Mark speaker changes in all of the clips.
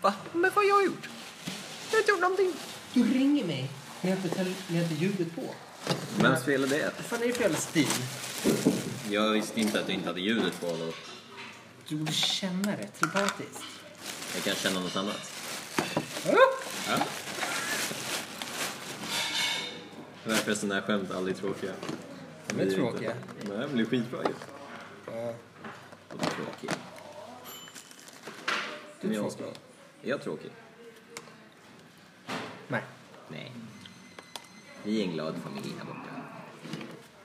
Speaker 1: Va? Men vad har jag gjort? Jag har inte gjort någonting.
Speaker 2: Du ringer mig när jag inte, tel- när jag inte ljudet på.
Speaker 1: Vems fel är det?
Speaker 2: Vad fan är det för jävla stil?
Speaker 1: Jag visste inte att du inte hade ljudet på då.
Speaker 2: Du borde känna det telepatiskt.
Speaker 1: Jag kan känna något annat. Ja. Varför är sådana här skämt aldrig tråkiga?
Speaker 2: De är tråkiga.
Speaker 1: Nej, men det är skitbra ju.
Speaker 2: Ja.
Speaker 1: De är tråkiga.
Speaker 2: Du är
Speaker 1: Jag-
Speaker 2: tråkig.
Speaker 1: Är jag tråkig?
Speaker 2: Nej.
Speaker 1: Nej. Vi är en glad familj här borta.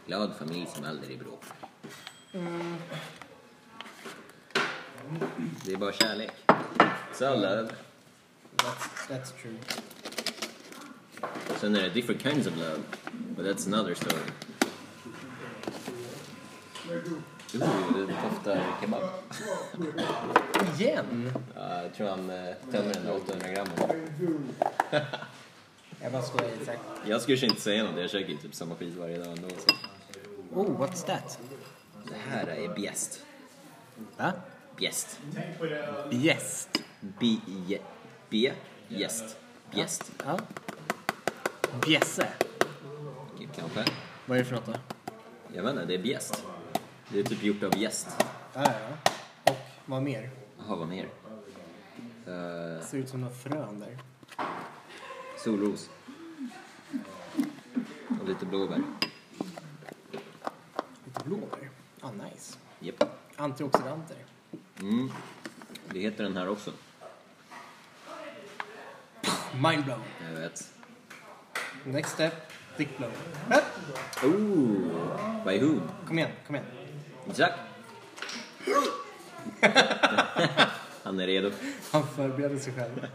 Speaker 1: Glad familj som aldrig bråkar.
Speaker 2: Mm.
Speaker 1: Det är bara kärlek. Så alla...
Speaker 2: That's, that's true.
Speaker 1: Sen är det different kinds of love. But that's another story. Ooh, det doftar kebab.
Speaker 2: Igen?
Speaker 1: Ja, jag tror han eh, tömmer den där 800 grammen.
Speaker 2: Jag bara skojar Isak.
Speaker 1: Jag skulle inte säga något, jag käkar ju typ samma skit varje dag ändå. Så.
Speaker 2: Oh, what's that?
Speaker 1: Det här är bjäst.
Speaker 2: Va?
Speaker 1: Bjäst.
Speaker 2: Bjäst.
Speaker 1: B... B... Gäst. Bjäst.
Speaker 2: Ja. Bjässe.
Speaker 1: Kanske.
Speaker 2: Vad är det för något då?
Speaker 1: Jag vet inte, det är bjäst. Det är typ gjort av gäst.
Speaker 2: Ja, ja, ja. Och vad mer?
Speaker 1: Jaha, vad mer? Eh,
Speaker 2: Ser ut som några frön där.
Speaker 1: solros. Och lite blåbär.
Speaker 2: Lite blåbär. Ah, nice.
Speaker 1: Japp.
Speaker 2: Antioxidanter.
Speaker 1: Mm. Det heter den här också.
Speaker 2: Mindblown.
Speaker 1: Jag vet.
Speaker 2: Next step. Dickblown. Äh,
Speaker 1: Oh, Ooh! By who?
Speaker 2: Kom igen, kom igen.
Speaker 1: Isak? Han är redo.
Speaker 2: Han förbereder sig själv.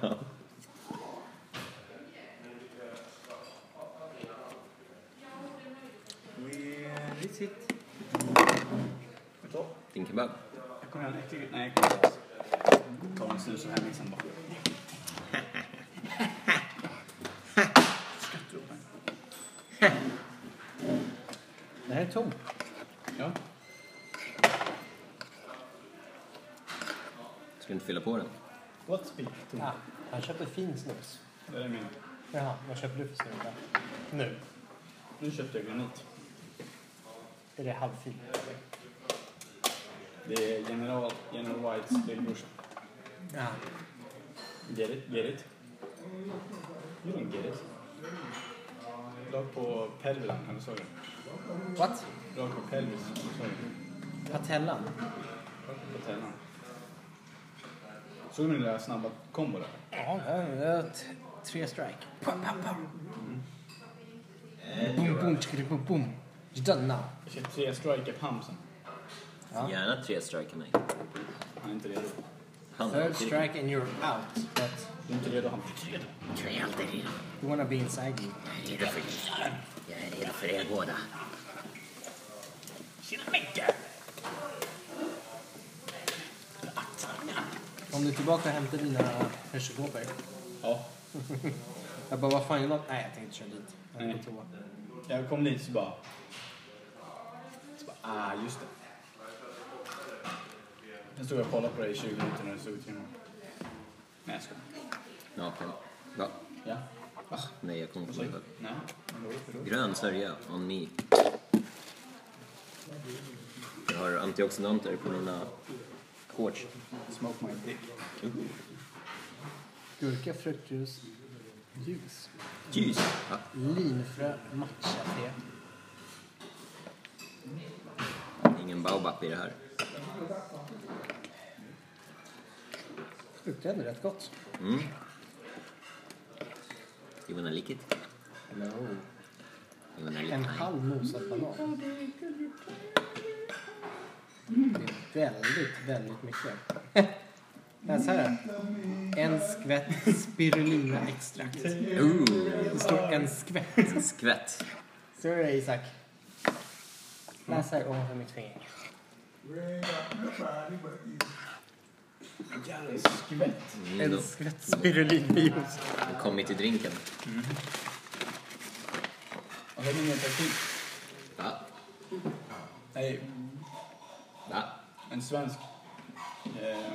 Speaker 1: Din kebab.
Speaker 3: Jag kommer aldrig till... Nej, jag kommer inte. Ta en snus och hem sen bara. Skattropen.
Speaker 2: Det här är tomt.
Speaker 3: Ja.
Speaker 1: Ska du inte fylla på den?
Speaker 3: Gott spik.
Speaker 2: Ah, han köper fin snus.
Speaker 3: Det är min.
Speaker 2: Jaha, vad köper du för snus då? Nu.
Speaker 3: Nu köpte jag granit.
Speaker 2: Är det halvfin?
Speaker 3: Det är General, General Whites lillebrorsa.
Speaker 2: Ja.
Speaker 3: Get it? Get it? You don't get it. Lag på Pelvilan, kan du såg det?
Speaker 2: What?
Speaker 3: Lag på Pelvilan, kan du såg det?
Speaker 2: Patellan?
Speaker 3: På Tällan. Såg ni den där snabba kombo där?
Speaker 2: Ja, det är t- tre strike. Pam, pam, pam. Boom, boom, tchickidi, boom, boom. You're done now.
Speaker 3: Jag ska tre strike up hamsen.
Speaker 2: Ja.
Speaker 1: Gärna tre striker mig.
Speaker 3: Han är inte redo.
Speaker 1: Han
Speaker 2: Third strike and you're out. But
Speaker 3: Du är inte redo, han är inte redo.
Speaker 1: Jag är alltid redo.
Speaker 2: you wanna be inside you.
Speaker 1: Jag är redo för det. Jag är redo för er båda.
Speaker 2: Om du är tillbaka och hämtar dina hörselkåpor.
Speaker 3: Ja.
Speaker 2: Jag bara, vad fan är det? Nej, jag tänkte köra dit. Jag är på
Speaker 3: Nej.
Speaker 2: toa.
Speaker 3: Jag kom dit så bara... Så bara, ah just det. Sen stod jag och kollade på dig i 20 minuter när du stod i timmen. Nej jag skojar.
Speaker 1: Naken. Va?
Speaker 3: Ja. Ah,
Speaker 1: Nej, jag kommer inte ihåg.
Speaker 3: Nej. men då är det för då.
Speaker 1: Grön sörja, on me. Jag har antioxidanter på mina shorts.
Speaker 3: Smoke my dick.
Speaker 2: Gurka, fruktjuice, juice.
Speaker 1: Ljus. Ja.
Speaker 2: Linfrö, matcha-te.
Speaker 1: Ingen baobab i det här.
Speaker 2: Luktar ändå rätt gott.
Speaker 1: Mm. You wanna lick it?
Speaker 2: No.
Speaker 1: You wanna lick
Speaker 2: En
Speaker 1: mine?
Speaker 2: halv nosad banan. Mm. Det är väldigt, väldigt mycket. Läs här. En skvätt spirulinaextrakt.
Speaker 1: Ooh,
Speaker 2: Det står en skvätt.
Speaker 1: skvätt.
Speaker 2: Ser du det Isak? Läs här ovanför mitt finger.
Speaker 3: Jävla skvätt.
Speaker 1: Mm, då.
Speaker 2: En skvätt spirulinjuice.
Speaker 1: Nu kommer vi till drinken.
Speaker 3: Och sen ingen taktik.
Speaker 1: Va?
Speaker 3: Nej,
Speaker 1: Va?
Speaker 3: en svensk eh,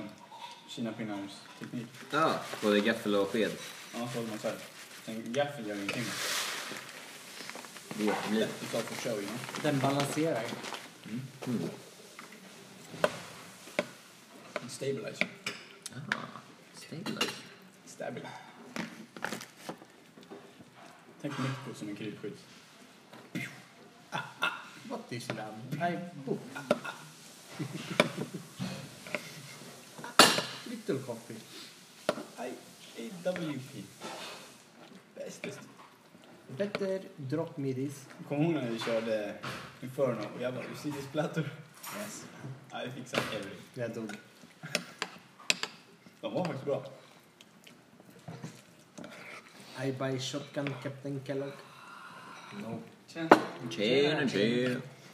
Speaker 3: kinapinnarmsteknik.
Speaker 1: Ja, både gaffel och sked.
Speaker 3: Ja, så håller man så här. Sen gaffeln gör ingenting.
Speaker 1: Det är jätteblir.
Speaker 3: Du tar för show, you know.
Speaker 2: Den balanserar.
Speaker 3: En stabilizer.
Speaker 1: Ah, stabilize.
Speaker 3: Stabil. Tänk mikro som en krypskytt.
Speaker 2: What is love? I book. Little coffee.
Speaker 3: I- AWP. Bästis.
Speaker 2: Better drop midis.
Speaker 3: Kommer du ihåg när vi körde Inferno och jag bara, du ser ju splattor. Yes. Ja, vi fixade everything.
Speaker 2: Jag dog.
Speaker 3: De var faktiskt bra.
Speaker 2: I buy shotgun Captain Kellogg. No.
Speaker 1: Tjena, tjena.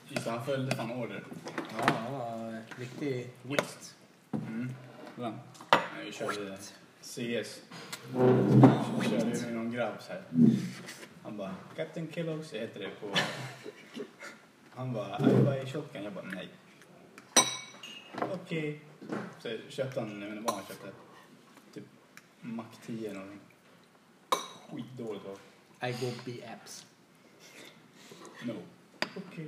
Speaker 3: Just det, han följde fan order.
Speaker 2: Ja, han var Ah, riktig whist.
Speaker 3: Mm. Ibland. När vi körde CS. Så körde vi med någon grabb så här. Han bara, Captain Kellogg's heter det på... Han bara, I buy shotgun. Jag bara, nej. Okej. Så köpte han, jag vet inte vad han köpte. Typ Mac 10 eller någonting. Skitdåligt var det.
Speaker 2: I go B-apps.
Speaker 3: No. Okej.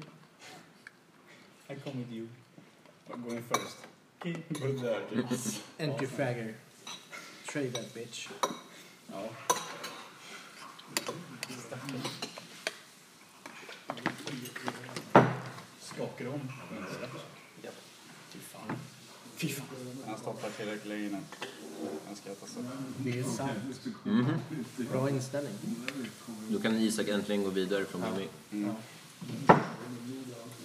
Speaker 3: I come with you. I'm going first. Okej. Går och dör typ.
Speaker 2: Entry fragger. Trade that bitch.
Speaker 3: Ja. Skakar om. Ja. Fy fan. Fy fan. Han stoppar tillräckligt länge innan. Han skrattar så.
Speaker 2: Det är sant. Bra inställning.
Speaker 1: Mhm. Då kan Isak äntligen gå vidare från Mummi.
Speaker 3: Mm.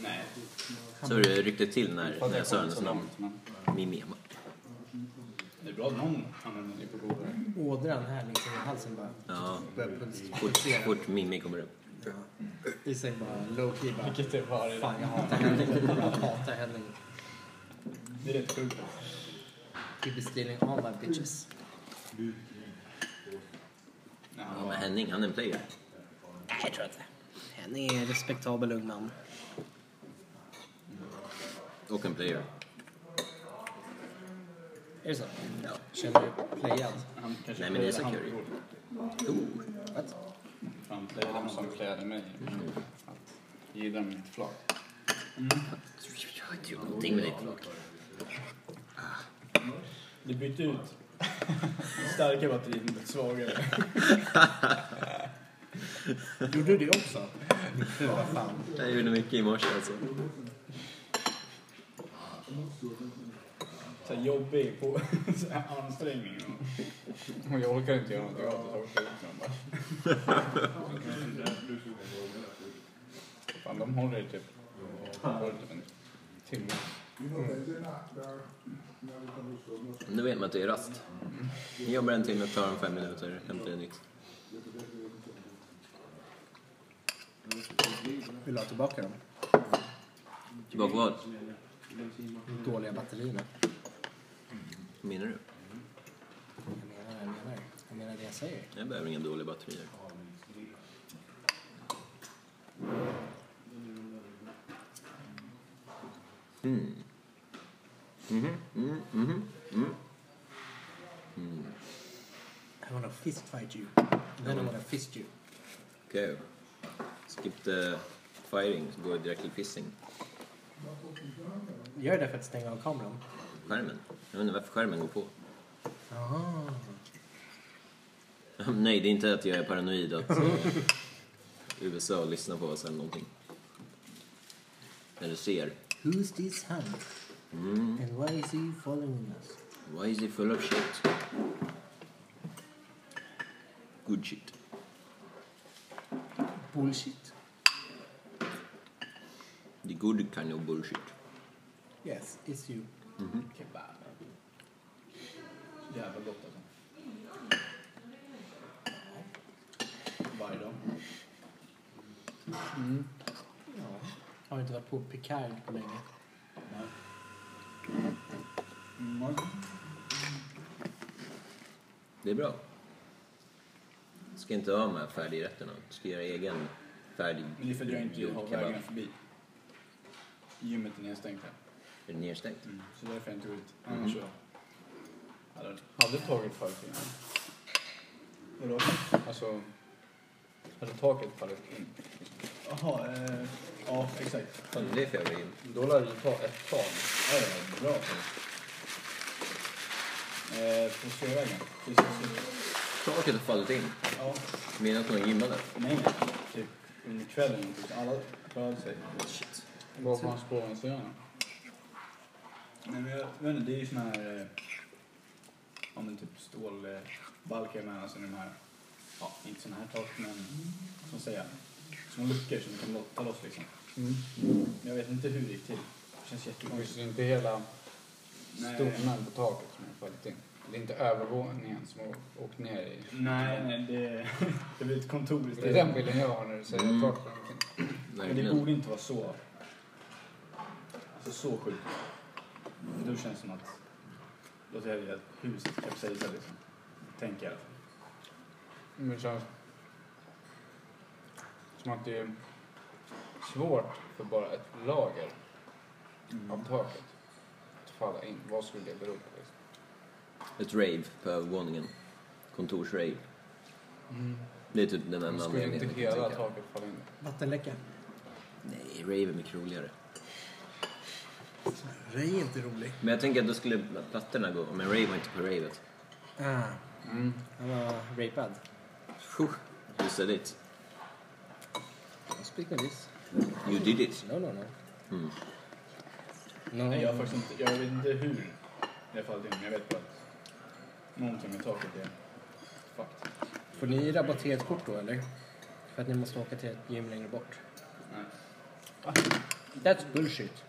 Speaker 3: Nej.
Speaker 1: Så det ryckte till när, när
Speaker 3: Fattar
Speaker 1: jag sa hennes namn.
Speaker 3: men
Speaker 1: Mimmi. jag bara,
Speaker 3: Det är bra att någon använder det på godare.
Speaker 2: Ådran här liksom i halsen bara
Speaker 1: Ja,
Speaker 2: börjar
Speaker 1: fort,
Speaker 2: pulsera.
Speaker 1: fort Mimmi kommer upp.
Speaker 2: Isak bara low-key bara.
Speaker 3: Vilket det var idag.
Speaker 2: Fan, jag hatar henne. Jag hatar henne.
Speaker 3: Det är rätt sjukt.
Speaker 2: Keep stealing all my bitches.
Speaker 3: Nej,
Speaker 1: Ja, men Henning, han är en player.
Speaker 2: Nej, jag tror inte. Henning är en respektabel ung man.
Speaker 1: Och en player.
Speaker 2: Är det så?
Speaker 1: Ja.
Speaker 2: Känner du playad?
Speaker 3: han kanske
Speaker 1: Nej, men Isak
Speaker 3: han-
Speaker 1: gör det ju. Oh.
Speaker 3: Han playade han som playade mig. Att gilla mitt flak.
Speaker 1: Jag har inte gjort någonting med ditt lag.
Speaker 3: Du bytte ut starka batterier mot svagare.
Speaker 2: Gjorde du det också? Fula fan.
Speaker 1: Jag gjorde mycket i morse alltså.
Speaker 3: Så här jobbig på så här ansträngning. Och jag orkar inte göra något åt det. så orkar jag inte bara. Fan, de håller ju typ, de håller typ en timme.
Speaker 1: Nu vet man att det är rast. Jag jobbar en timme, tar om fem minuter, hämtar en nytt.
Speaker 2: Vill du ha tillbaka dem?
Speaker 1: Tillbaka vad?
Speaker 2: De Dåliga batterierna.
Speaker 1: Vad menar du?
Speaker 2: Jag menar vad jag menar. Jag menar det jag säger.
Speaker 1: Jag behöver inga dåliga batterier. Mm. Mhm, mm, mhm, mm.
Speaker 2: I wanna fistfight you. Then I wanna fist you.
Speaker 1: Okej. Skip the firing, så går jag direkt till pissing.
Speaker 2: Gör det för att stänga av kameran.
Speaker 1: Skärmen. Jag undrar varför skärmen går på.
Speaker 2: Aha.
Speaker 1: Nej, det är inte att jag är paranoid att eh, USA lyssnar på oss eller någonting. Eller ser.
Speaker 2: Who's this hand?
Speaker 1: Mm.
Speaker 2: And why is he following us?
Speaker 1: Why is he full of shit? Good shit.
Speaker 2: Bullshit?
Speaker 1: The good kind of bullshit.
Speaker 2: Yes, it's you.
Speaker 3: Kebab. Jävla gott alltså. Varje dag.
Speaker 2: Ja. Har inte varit på Picard på länge.
Speaker 3: Mm.
Speaker 1: Det är bra. Jag ska inte ha de här färdigrätterna. Jag ska göra egen färdig...
Speaker 3: Men det är för att jag inte har
Speaker 1: gjord kebab.
Speaker 3: vägarna förbi. Gymmet är nedstängt här.
Speaker 1: Är det nedstängt?
Speaker 4: Mm.
Speaker 3: Så därför har jag inte gått ut. Annars så Hade hade du tagit förut innan?
Speaker 4: Vadå?
Speaker 3: Alltså, hade du tagit förut in?
Speaker 4: Jaha, eh, ja exakt.
Speaker 1: Vad är det för jävla in?
Speaker 3: Då lär du ta ett tag.
Speaker 4: Ja, ja, bra.
Speaker 3: Eh, på sjövägen.
Speaker 4: Just det,
Speaker 3: Mm.
Speaker 4: så-
Speaker 1: Taket har fallit in.
Speaker 4: Ja,
Speaker 1: Menar att någon gymmade.
Speaker 4: nej.
Speaker 3: Typ under kvällen. typ Alla klarade sig.
Speaker 1: Shit.
Speaker 3: Vad fanns spårvagnsöarna?
Speaker 4: Nej, men jag
Speaker 3: Jag vet inte, det är ju såna här... eh, Ja men typ stålbalkar med, alltså de här... Ja, inte såna här tak men... Vad ska man säga? Små luckor som kan lotta loss liksom. Jag vet inte hur det gick till. Det känns jättekonstigt.
Speaker 5: Det är inte hela
Speaker 3: Nej,
Speaker 5: stommen på taket som har fallit in. Det är inte övervåningen som har åkt ner i.
Speaker 3: nej, nej det, det blir ett kontor
Speaker 5: Det är den
Speaker 3: istället.
Speaker 5: bilden jag har när du säger
Speaker 1: Mm.
Speaker 5: mm. taket. har åkt in.
Speaker 3: Men det
Speaker 1: Verkligen.
Speaker 3: borde inte vara så... Alltså så sjukt. För Då känns det som att... Låt säga att huset kapsejsar liksom. Tänker jag i alla fall.
Speaker 5: Men det känns som att det är svårt för bara ett lager
Speaker 2: Mm.
Speaker 5: av
Speaker 3: Mm.
Speaker 5: taket att falla in. Vad skulle det bero på? Liksom?
Speaker 1: Ett rave på övervåningen. Kontorsrave. Det är typ den enda
Speaker 5: Skulle
Speaker 1: anledningen.
Speaker 5: inte
Speaker 1: jag kan
Speaker 5: hela
Speaker 1: tänka.
Speaker 5: taket falla in?
Speaker 2: Vattenläcka.
Speaker 1: Nej, rave är mycket roligare.
Speaker 2: Rej är inte rolig.
Speaker 1: Men jag tänker att då skulle plattorna gå, men rave var inte på ravet.
Speaker 2: Ah,
Speaker 5: Mm.
Speaker 2: han var rapad.
Speaker 1: Phew, You said it.
Speaker 2: Don't speak like this.
Speaker 1: You did it.
Speaker 2: No, no, no.
Speaker 1: Mm.
Speaker 2: No,
Speaker 3: Nej, jag, har
Speaker 2: no.
Speaker 3: faktiskt inte, jag vet inte hur det fallit in, men jag vet bara att någonting med taket är fucked.
Speaker 2: Får ni rabatterat kort då eller? För att ni måste åka till ett gym längre bort.
Speaker 3: Nej.
Speaker 2: That's bullshit.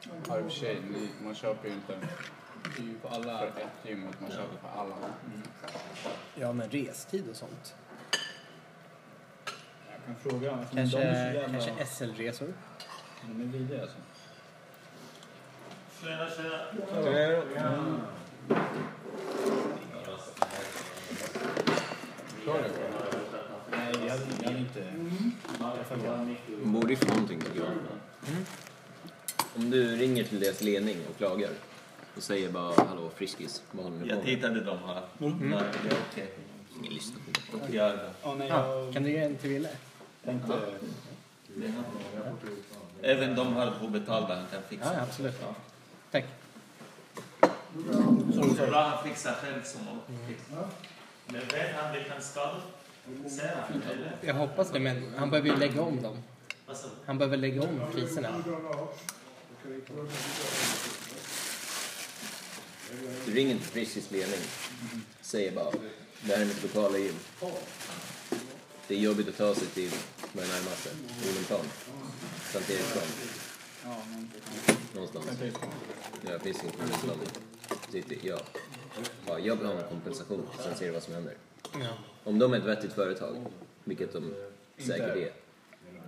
Speaker 5: Ja, i och för sig, ni- man köper ju inte
Speaker 3: Det är ju på
Speaker 5: för
Speaker 3: alla...
Speaker 5: ett gym utan man köper för alla.
Speaker 2: Ja, men restid och sånt.
Speaker 3: Jag kan fråga, alltså, men
Speaker 2: Kanske,
Speaker 3: de är så jävla...
Speaker 2: kanske SL-resor.
Speaker 3: De är vidriga alltså.
Speaker 5: Kör det bara.
Speaker 3: Nej, jag hade, jag hade inte... Jag fuckade.
Speaker 1: De borde ju få någonting tycker jag. Mm. Om du ringer till deras ledning och klagar och säger bara hallå friskis, vad håller ni på
Speaker 6: Jag
Speaker 1: med?
Speaker 6: tittade de här.
Speaker 2: Mm.
Speaker 6: Nej, det är okej.
Speaker 1: Ingen lyssnar på det.
Speaker 6: Okay. Gör det.
Speaker 3: Åh nej,
Speaker 2: Ah,
Speaker 3: jag
Speaker 2: kan du ge en till Wille?
Speaker 3: tänkte...
Speaker 6: Även de här obetalda kan
Speaker 2: Ja, ja,
Speaker 6: fixa.
Speaker 2: absolut. Tack.
Speaker 6: Så bra han fixar själv som
Speaker 2: Mm.
Speaker 6: fixar. Men vet han vilken skada? Ser han
Speaker 2: Mm.
Speaker 6: eller?
Speaker 2: Jag hoppas det, men han behöver ju lägga om dem.
Speaker 6: Vad sa du?
Speaker 2: Han behöver lägga om priserna.
Speaker 1: Du ringer till friskis ledning säger bara det här är mitt lokala gym. Det är jobbigt att ta sig till de här närmaste. Olenplan. Sankt Eriksplan.
Speaker 3: Ja, någonting.
Speaker 1: Någonstans.
Speaker 3: Okej.
Speaker 1: Ja, det finns inte Olenplan. Sitter jag. Ja, jag vill ha en kompensation. Sen ser du vad som händer.
Speaker 2: Ja.
Speaker 1: Om de är ett vettigt företag, vilket de säkert
Speaker 3: Inte.
Speaker 1: är.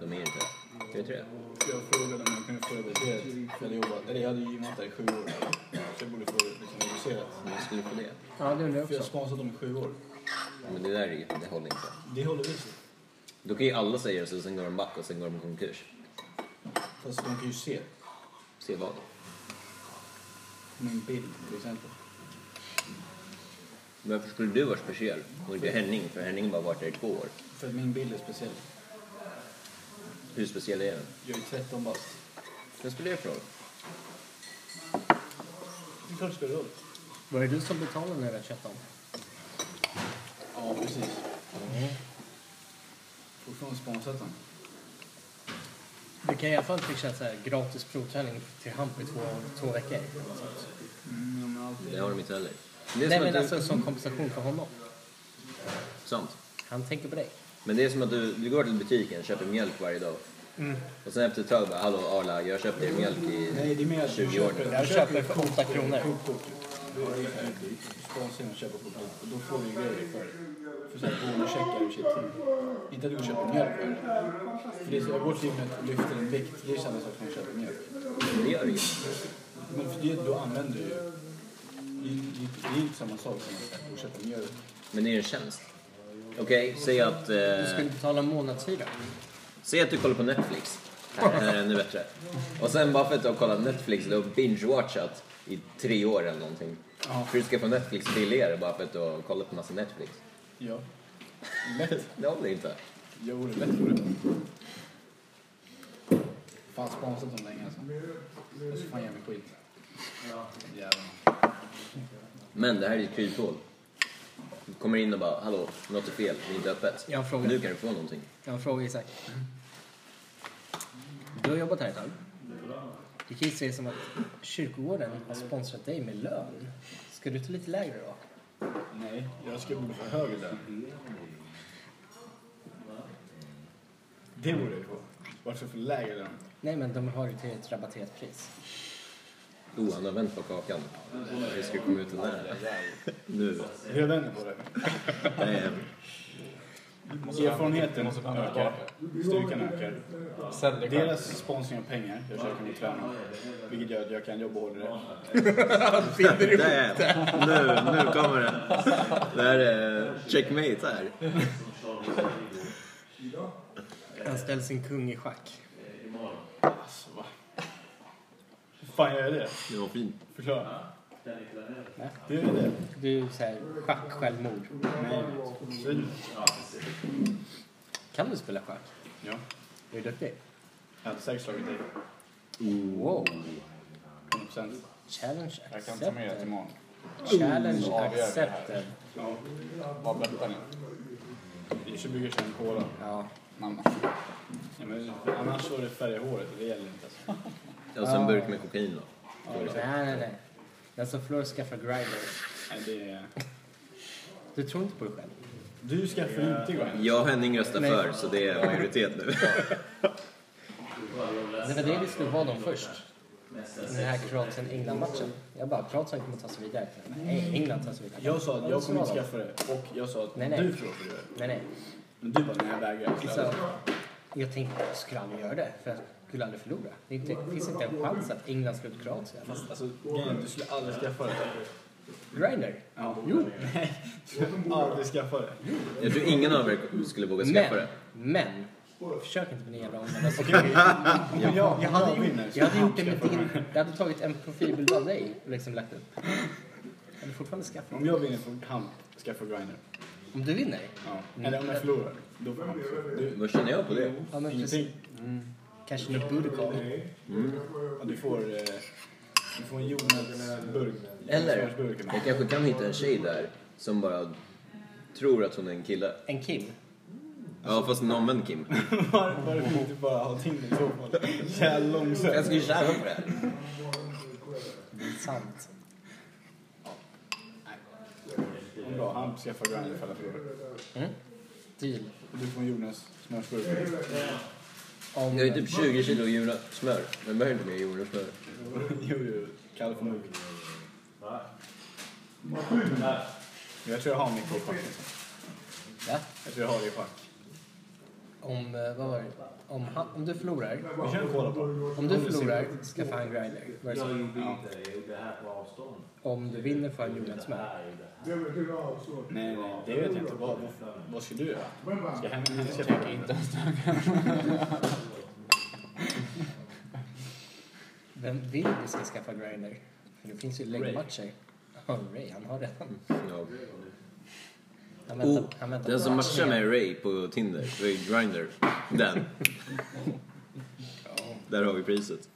Speaker 1: De är inte det. Är du inte det?
Speaker 3: Jag frågade om jag kunde få reducerat. Jag hade jobbat, eller jag hade gymmat där i sju år. Så jag borde få liksom, reducerat.
Speaker 1: Men jag skulle få det.
Speaker 2: Ja, det undrar jag
Speaker 3: För jag har
Speaker 2: också.
Speaker 3: sponsrat dem i sju år.
Speaker 1: Men det där är ju, det håller inte.
Speaker 3: Det håller vi sig.
Speaker 1: Då kan ju alla säga det så sen går de back och sen går de i konkurs.
Speaker 3: Fast de kan ju se
Speaker 1: Se vad.
Speaker 3: min bild till exempel.
Speaker 1: Varför skulle du vara speciell och inte Henning? För Henning har bara varit där i två år.
Speaker 3: För att min bild är speciell.
Speaker 1: Hur speciell är den?
Speaker 3: Jag är 13 bast.
Speaker 1: Vad spelar det för roll?
Speaker 3: Det är klart det spelar roll.
Speaker 2: Var det du som betalade när jag köpte dem?
Speaker 3: Ja, precis. Fortfarande sponsrat han.
Speaker 2: Du kan i alla fall fixa så här gratis provträning till Hamp i två, två veckor.
Speaker 3: Mm, men alltid.
Speaker 1: Det har de inte heller. Det är
Speaker 2: Nej,
Speaker 1: som
Speaker 2: men
Speaker 1: att du...
Speaker 2: alltså som kompensation för honom.
Speaker 1: Sant.
Speaker 2: Han tänker på dig.
Speaker 1: Men det är som att du, du går till butiken och köper mjölk varje dag.
Speaker 2: Mm.
Speaker 1: Och sen efter ett tag bara, hallå Arla, jag köpte er mjölk i...
Speaker 3: Nej, det är mer att
Speaker 1: 20 år nu.
Speaker 2: Jag köper för 8 kronor.
Speaker 3: Kortkort. Då är det ju fint. Du Sponsrar och köper kortkort. Och då får du ju grejer för det. För såhär bonuscheckar och shit. Inte att du köper mjölk för det. För det är så, vårt gymmet lyfter en vikt. Det är samma sak som att köpa mjölk.
Speaker 1: Det gör det ju.
Speaker 3: Men för det, då använder du ju... Det, det, det är inte samma sak som att- att köpa mjölk.
Speaker 1: Men det är ju en tjänst. Okej, säg att...
Speaker 2: Du
Speaker 1: Eh...
Speaker 2: skulle betala månadshyra.
Speaker 1: Säg att du kollar på Netflix. Det här är ännu bättre. Och sen bara för att du har kollat Netflix och binge-watchat i tre år eller någonting.
Speaker 3: Ja.
Speaker 1: För du ska få Netflix billigare bara för att du har kollat på massa Netflix.
Speaker 3: Ja. Lätt.
Speaker 1: Det håller inte.
Speaker 3: Jag vore lätt för det. Fan sponsrat dem länge alltså. Jag ska fan ge mig skit. Jävlar.
Speaker 1: Men det här är ett kryphål. Du kommer in och bara, hallå, något är fel, det är inte öppet.
Speaker 2: Jag har en fråga.
Speaker 1: Nu kan du få någonting.
Speaker 2: Jag har en fråga Isak. Du har jobbat här ett tag. Det kan ju se som att kyrkogården har sponsrat dig med lön. Ska du ta lite lägre då?
Speaker 3: Nej, jag skulle borde få högre lön. Det borde jag få. Varför för lägre lön?
Speaker 2: Nej, men de har ju till ett rabatterat pris.
Speaker 1: Oh, han har vänt på kakan. Hur ska det komma ut den här? Nu.
Speaker 3: Hur jag vänder på det.
Speaker 1: Eh,
Speaker 3: Erfarenheten
Speaker 5: Måste vända
Speaker 3: ökar. Styrkan ökar.
Speaker 5: Sälj dig själv.
Speaker 3: Deras sponsring av pengar gör så att jag kan gå och träna. Vilket gör att jag kan jobba hårdare.
Speaker 1: Där, nu, nu kommer det. Det här är checkmate här.
Speaker 2: Han ställer sin kung i schack.
Speaker 3: Alltså va? Hur fan gör jag det?
Speaker 1: Det var fint.
Speaker 3: Förklara.
Speaker 2: Nej.
Speaker 3: Det är det.
Speaker 2: Du säger schack självmord.
Speaker 3: Nej. Så är det.
Speaker 2: Kan du spela schack?
Speaker 3: Ja.
Speaker 2: Är du duktig?
Speaker 3: Jag hade säkert slagit dig.
Speaker 2: Wow.
Speaker 3: 100%.
Speaker 2: Challenge
Speaker 5: Mm. Jag kan ta med er till Mm.
Speaker 2: accepted.
Speaker 5: imorgon.
Speaker 2: Challenge
Speaker 5: Ja, vi gör det här.
Speaker 2: accepted.
Speaker 3: Ja.
Speaker 5: Vad bettar ni?
Speaker 3: Vi kör bygger en cola.
Speaker 2: Ja.
Speaker 5: Mamma.
Speaker 3: Ja, men annars så är det färga håret. Det gäller inte alltså.
Speaker 1: Och så
Speaker 2: Ah.
Speaker 1: en burk med kokain då.
Speaker 2: Nej, nej, nej. Den som förlorar skaffar grinder.
Speaker 3: Nej, det är...
Speaker 2: Du tror inte på dig själv?
Speaker 3: Du skaffar inte Gwen.
Speaker 1: Jag och Henning röstar
Speaker 2: Nej.
Speaker 1: för, så det är majoritet nu.
Speaker 2: Det var det vi skulle vara dem först. Den här Kroatien-England-matchen. Jag bara, Kroatien kommer ta sig vidare. Nej, England tar sig vidare.
Speaker 3: Jag sa att jag kommer inte
Speaker 2: Så var
Speaker 3: skaffa det och jag sa att
Speaker 2: Nej, nej.
Speaker 3: du tror på det.
Speaker 2: det. Nej, nej.
Speaker 3: Men du bara, nej jag vägrar. Så
Speaker 2: Så, jag tänkte, jag skulle aldrig göra det. För jag skulle aldrig förlora. Det är inte, det finns inte en chans att England slår ut Kroatien.
Speaker 3: Fast alltså grejen är att du skulle aldrig skaffa det.
Speaker 2: Griner.
Speaker 3: Ja. Jo. Nej, du skulle aldrig skaffa det.
Speaker 1: Jag tror ingen av er skulle våga skaffa
Speaker 2: Men,
Speaker 1: det.
Speaker 2: men. Försök inte med din jävla omvända psykologi.
Speaker 3: Om jag, jag hade vinner
Speaker 2: Jag hade gjort det med din... Jag hade tagit en profilbild av dig och liksom lagt upp. Jag hade fortfarande skaffat.
Speaker 3: Om jag vinner får han skaffa Grindr.
Speaker 2: Om du vinner?
Speaker 3: Ja. Eller om jag förlorar, då får han. Du,
Speaker 1: Vad känner jag på det?
Speaker 2: Ja, men precis.
Speaker 3: ingenting.
Speaker 2: Kanske ni borde kolla.
Speaker 3: Ja, du får... Eh, du får en Jonas-burk.
Speaker 1: Eller,
Speaker 3: Jonas-burk
Speaker 1: jag kanske kan hitta en tjej där som bara tror att hon är en kille.
Speaker 2: En Kim?
Speaker 1: Ja, fast en omvänd Kim.
Speaker 3: Varför vill du bara ha Tinder i så fall? Jävla långsökt.
Speaker 1: Jag skulle tjäna på det.
Speaker 2: Sant.
Speaker 3: Bra, han skaffar Grindr ifall jag förlorar.
Speaker 2: Deal.
Speaker 3: Du får en Jonas-smörsburk.
Speaker 2: Om...
Speaker 1: Jag är typ 20 kilo jordnötssmör. Men behöver inte mer jordnötssmör.
Speaker 3: Jo, jo. Kalle får nog. Jag tror jag har mycket i schack. alltså.
Speaker 2: Va?
Speaker 3: Jag tror jag har det i schack.
Speaker 2: Om, eh, vad var det? Om, han, om du förlorar,
Speaker 3: Vi kör en cola på.
Speaker 2: om du förlorar ska få en grinder. Var det
Speaker 6: Jag
Speaker 2: så?
Speaker 6: gjorde inte det, jag gjorde det här på avstånd.
Speaker 2: Om du vinner får en jordnötssmör.
Speaker 6: Här är det.
Speaker 3: Nej, nej, det vet jag inte. Vad, vad ska du göra? Ska jag hämta henne? Ska jag
Speaker 5: Tänker
Speaker 3: tänka in?
Speaker 5: inte ens tanken.
Speaker 2: Vem vill du ska skaffa grinder? För det finns ju läggmatcher. Ja, Ray, han har redan.
Speaker 1: Ja.
Speaker 2: Han
Speaker 1: Oh,
Speaker 2: väntar, han väntar
Speaker 1: den
Speaker 2: på
Speaker 1: som
Speaker 2: matchen
Speaker 1: matchar
Speaker 2: igen.
Speaker 1: med Ray på Tinder, Ray Grindr, den. Där har vi priset.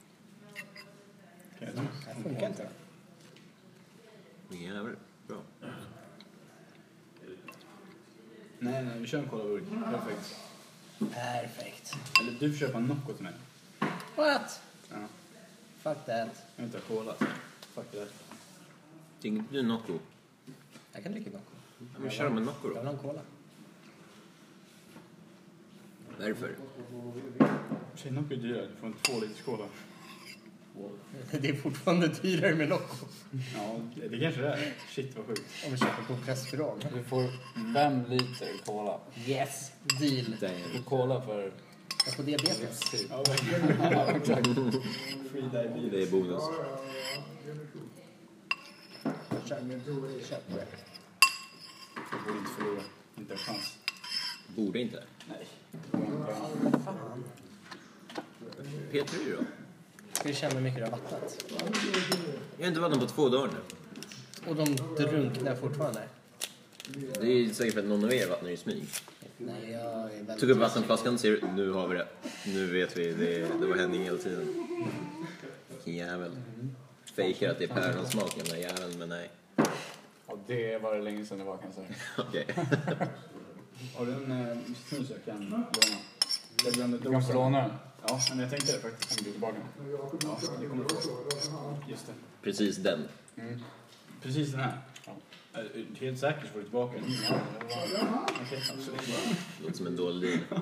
Speaker 2: Det här funkar inte.
Speaker 1: Vilken jävel. Bra.
Speaker 3: Nej, nej, vi kör en cola burk. Perfekt.
Speaker 2: Perfekt.
Speaker 3: Eller du får köpa en Nocco till mig.
Speaker 2: What?
Speaker 3: Ja.
Speaker 2: Fuck that.
Speaker 3: Jag vill inte ha cola. alltså. Fuck det.
Speaker 1: Tänker du Nocco?
Speaker 2: Jag kan dricka Nocco.
Speaker 1: Ja, men kör med Nocco
Speaker 2: Jag
Speaker 1: då.
Speaker 2: vill ha en cola.
Speaker 1: Varför?
Speaker 3: Tjej, Nocco är dyrare. Du får en två liters cola.
Speaker 2: Det är fortfarande dyrare med Nocco.
Speaker 3: Ja, det det kanske det är. Shit, vad sjukt.
Speaker 2: Om vi köper på restaurang.
Speaker 5: Du får fem liter cola.
Speaker 2: Yes, deal.
Speaker 5: Du
Speaker 1: Damn.
Speaker 5: får cola för typ-
Speaker 2: Jag får Alltså, diabetes.
Speaker 5: livstid.
Speaker 3: Ja, verkligen. Exakt. Free diabetes.
Speaker 1: Det är bonus.
Speaker 2: Kör. Kör på det.
Speaker 3: Jag borde inte förlora. Inte en chans.
Speaker 1: Borde inte.
Speaker 3: Nej.
Speaker 1: P3 då?
Speaker 2: Ska du känna hur mycket du har vattnat.
Speaker 1: Jag har inte vattnat på två dagar nu.
Speaker 2: Och de drunknar fortfarande.
Speaker 1: Det är ju säkert för att någon av er vattnar i smyg.
Speaker 2: Nej, jag är väldigt...
Speaker 1: Tog upp vattenflaskan och ser nu har vi det. Nu vet vi, det, det var Henning hela tiden. Vilken jävel. Fejkar att det är päronsmak den där jäveln, men nej.
Speaker 5: Ja, det var det länge sedan det var kan jag säga.
Speaker 1: Okej.
Speaker 3: Har du en eh, snus jag kan låna? Jag glömde
Speaker 5: Du kan få
Speaker 3: dosan.
Speaker 5: låna den.
Speaker 3: Ja, men jag tänkte det faktiskt.
Speaker 5: Sen blir du tillbaka den.
Speaker 3: Ja, det kommer du få. Just det.
Speaker 1: Precis den.
Speaker 3: Precis den här.
Speaker 5: Ja.
Speaker 3: Är du Helt säker så får du tillbaka den. Okej, absolut.
Speaker 1: Låter som en dålig deal.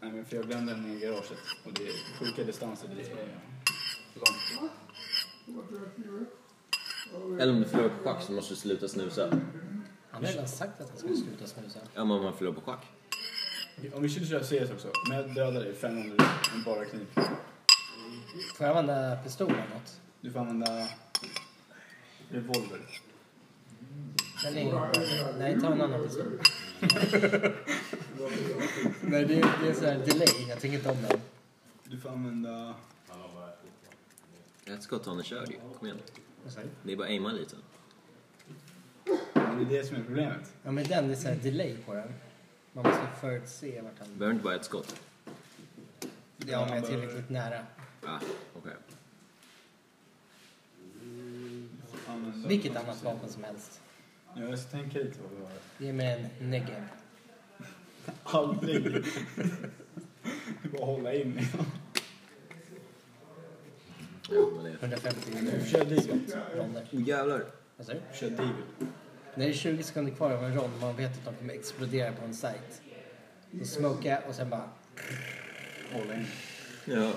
Speaker 3: Nej, men för jag glömde den i garaget. Och det är sjuka distanser. Det är långt.
Speaker 1: Eller om du förlorar på schack så måste du sluta snusa.
Speaker 2: Han har redan sagt att han skulle sluta snusa.
Speaker 1: Ja, men om man förlorar på schack.
Speaker 3: Om vi skulle köra CS också. Men jag dödar dig fem gånger med bara kniv.
Speaker 2: Får jag använda pistol eller något?
Speaker 3: Du får använda revolver.
Speaker 2: Eller ingen- Nej, ta en annan pistol. Nej, det är, det är så här delay. Jag tycker inte om den.
Speaker 3: Du får använda...
Speaker 1: Ett skott har han kört ju. Kom igen.
Speaker 2: Vad säger du?
Speaker 1: Det är bara att aima lite.
Speaker 3: Men det är det som är problemet.
Speaker 2: Ja, men den, det är så här delay på den. Man måste förutse vart han...
Speaker 1: Behöver inte bara ett skott.
Speaker 2: Ja, om jag är tillräckligt nära.
Speaker 1: Ah, okej.
Speaker 3: Du får använda-
Speaker 2: Vilket annat vapen som helst.
Speaker 3: Ja, jag tänker lite vad vi har.
Speaker 2: Ge mig en negev.
Speaker 3: Aldrig. Du bara hålla in.
Speaker 1: Ja, men det...
Speaker 2: 150
Speaker 3: Kör digert.
Speaker 2: ronder.
Speaker 1: Oh, jävlar.
Speaker 2: Vad sa du?
Speaker 3: Kör digert.
Speaker 2: När det är 20 sekunder kvar av en rond och man vet att de kommer explodera på en sajt. Då smokar jag och sen bara...
Speaker 3: Hålla in.
Speaker 1: Ja.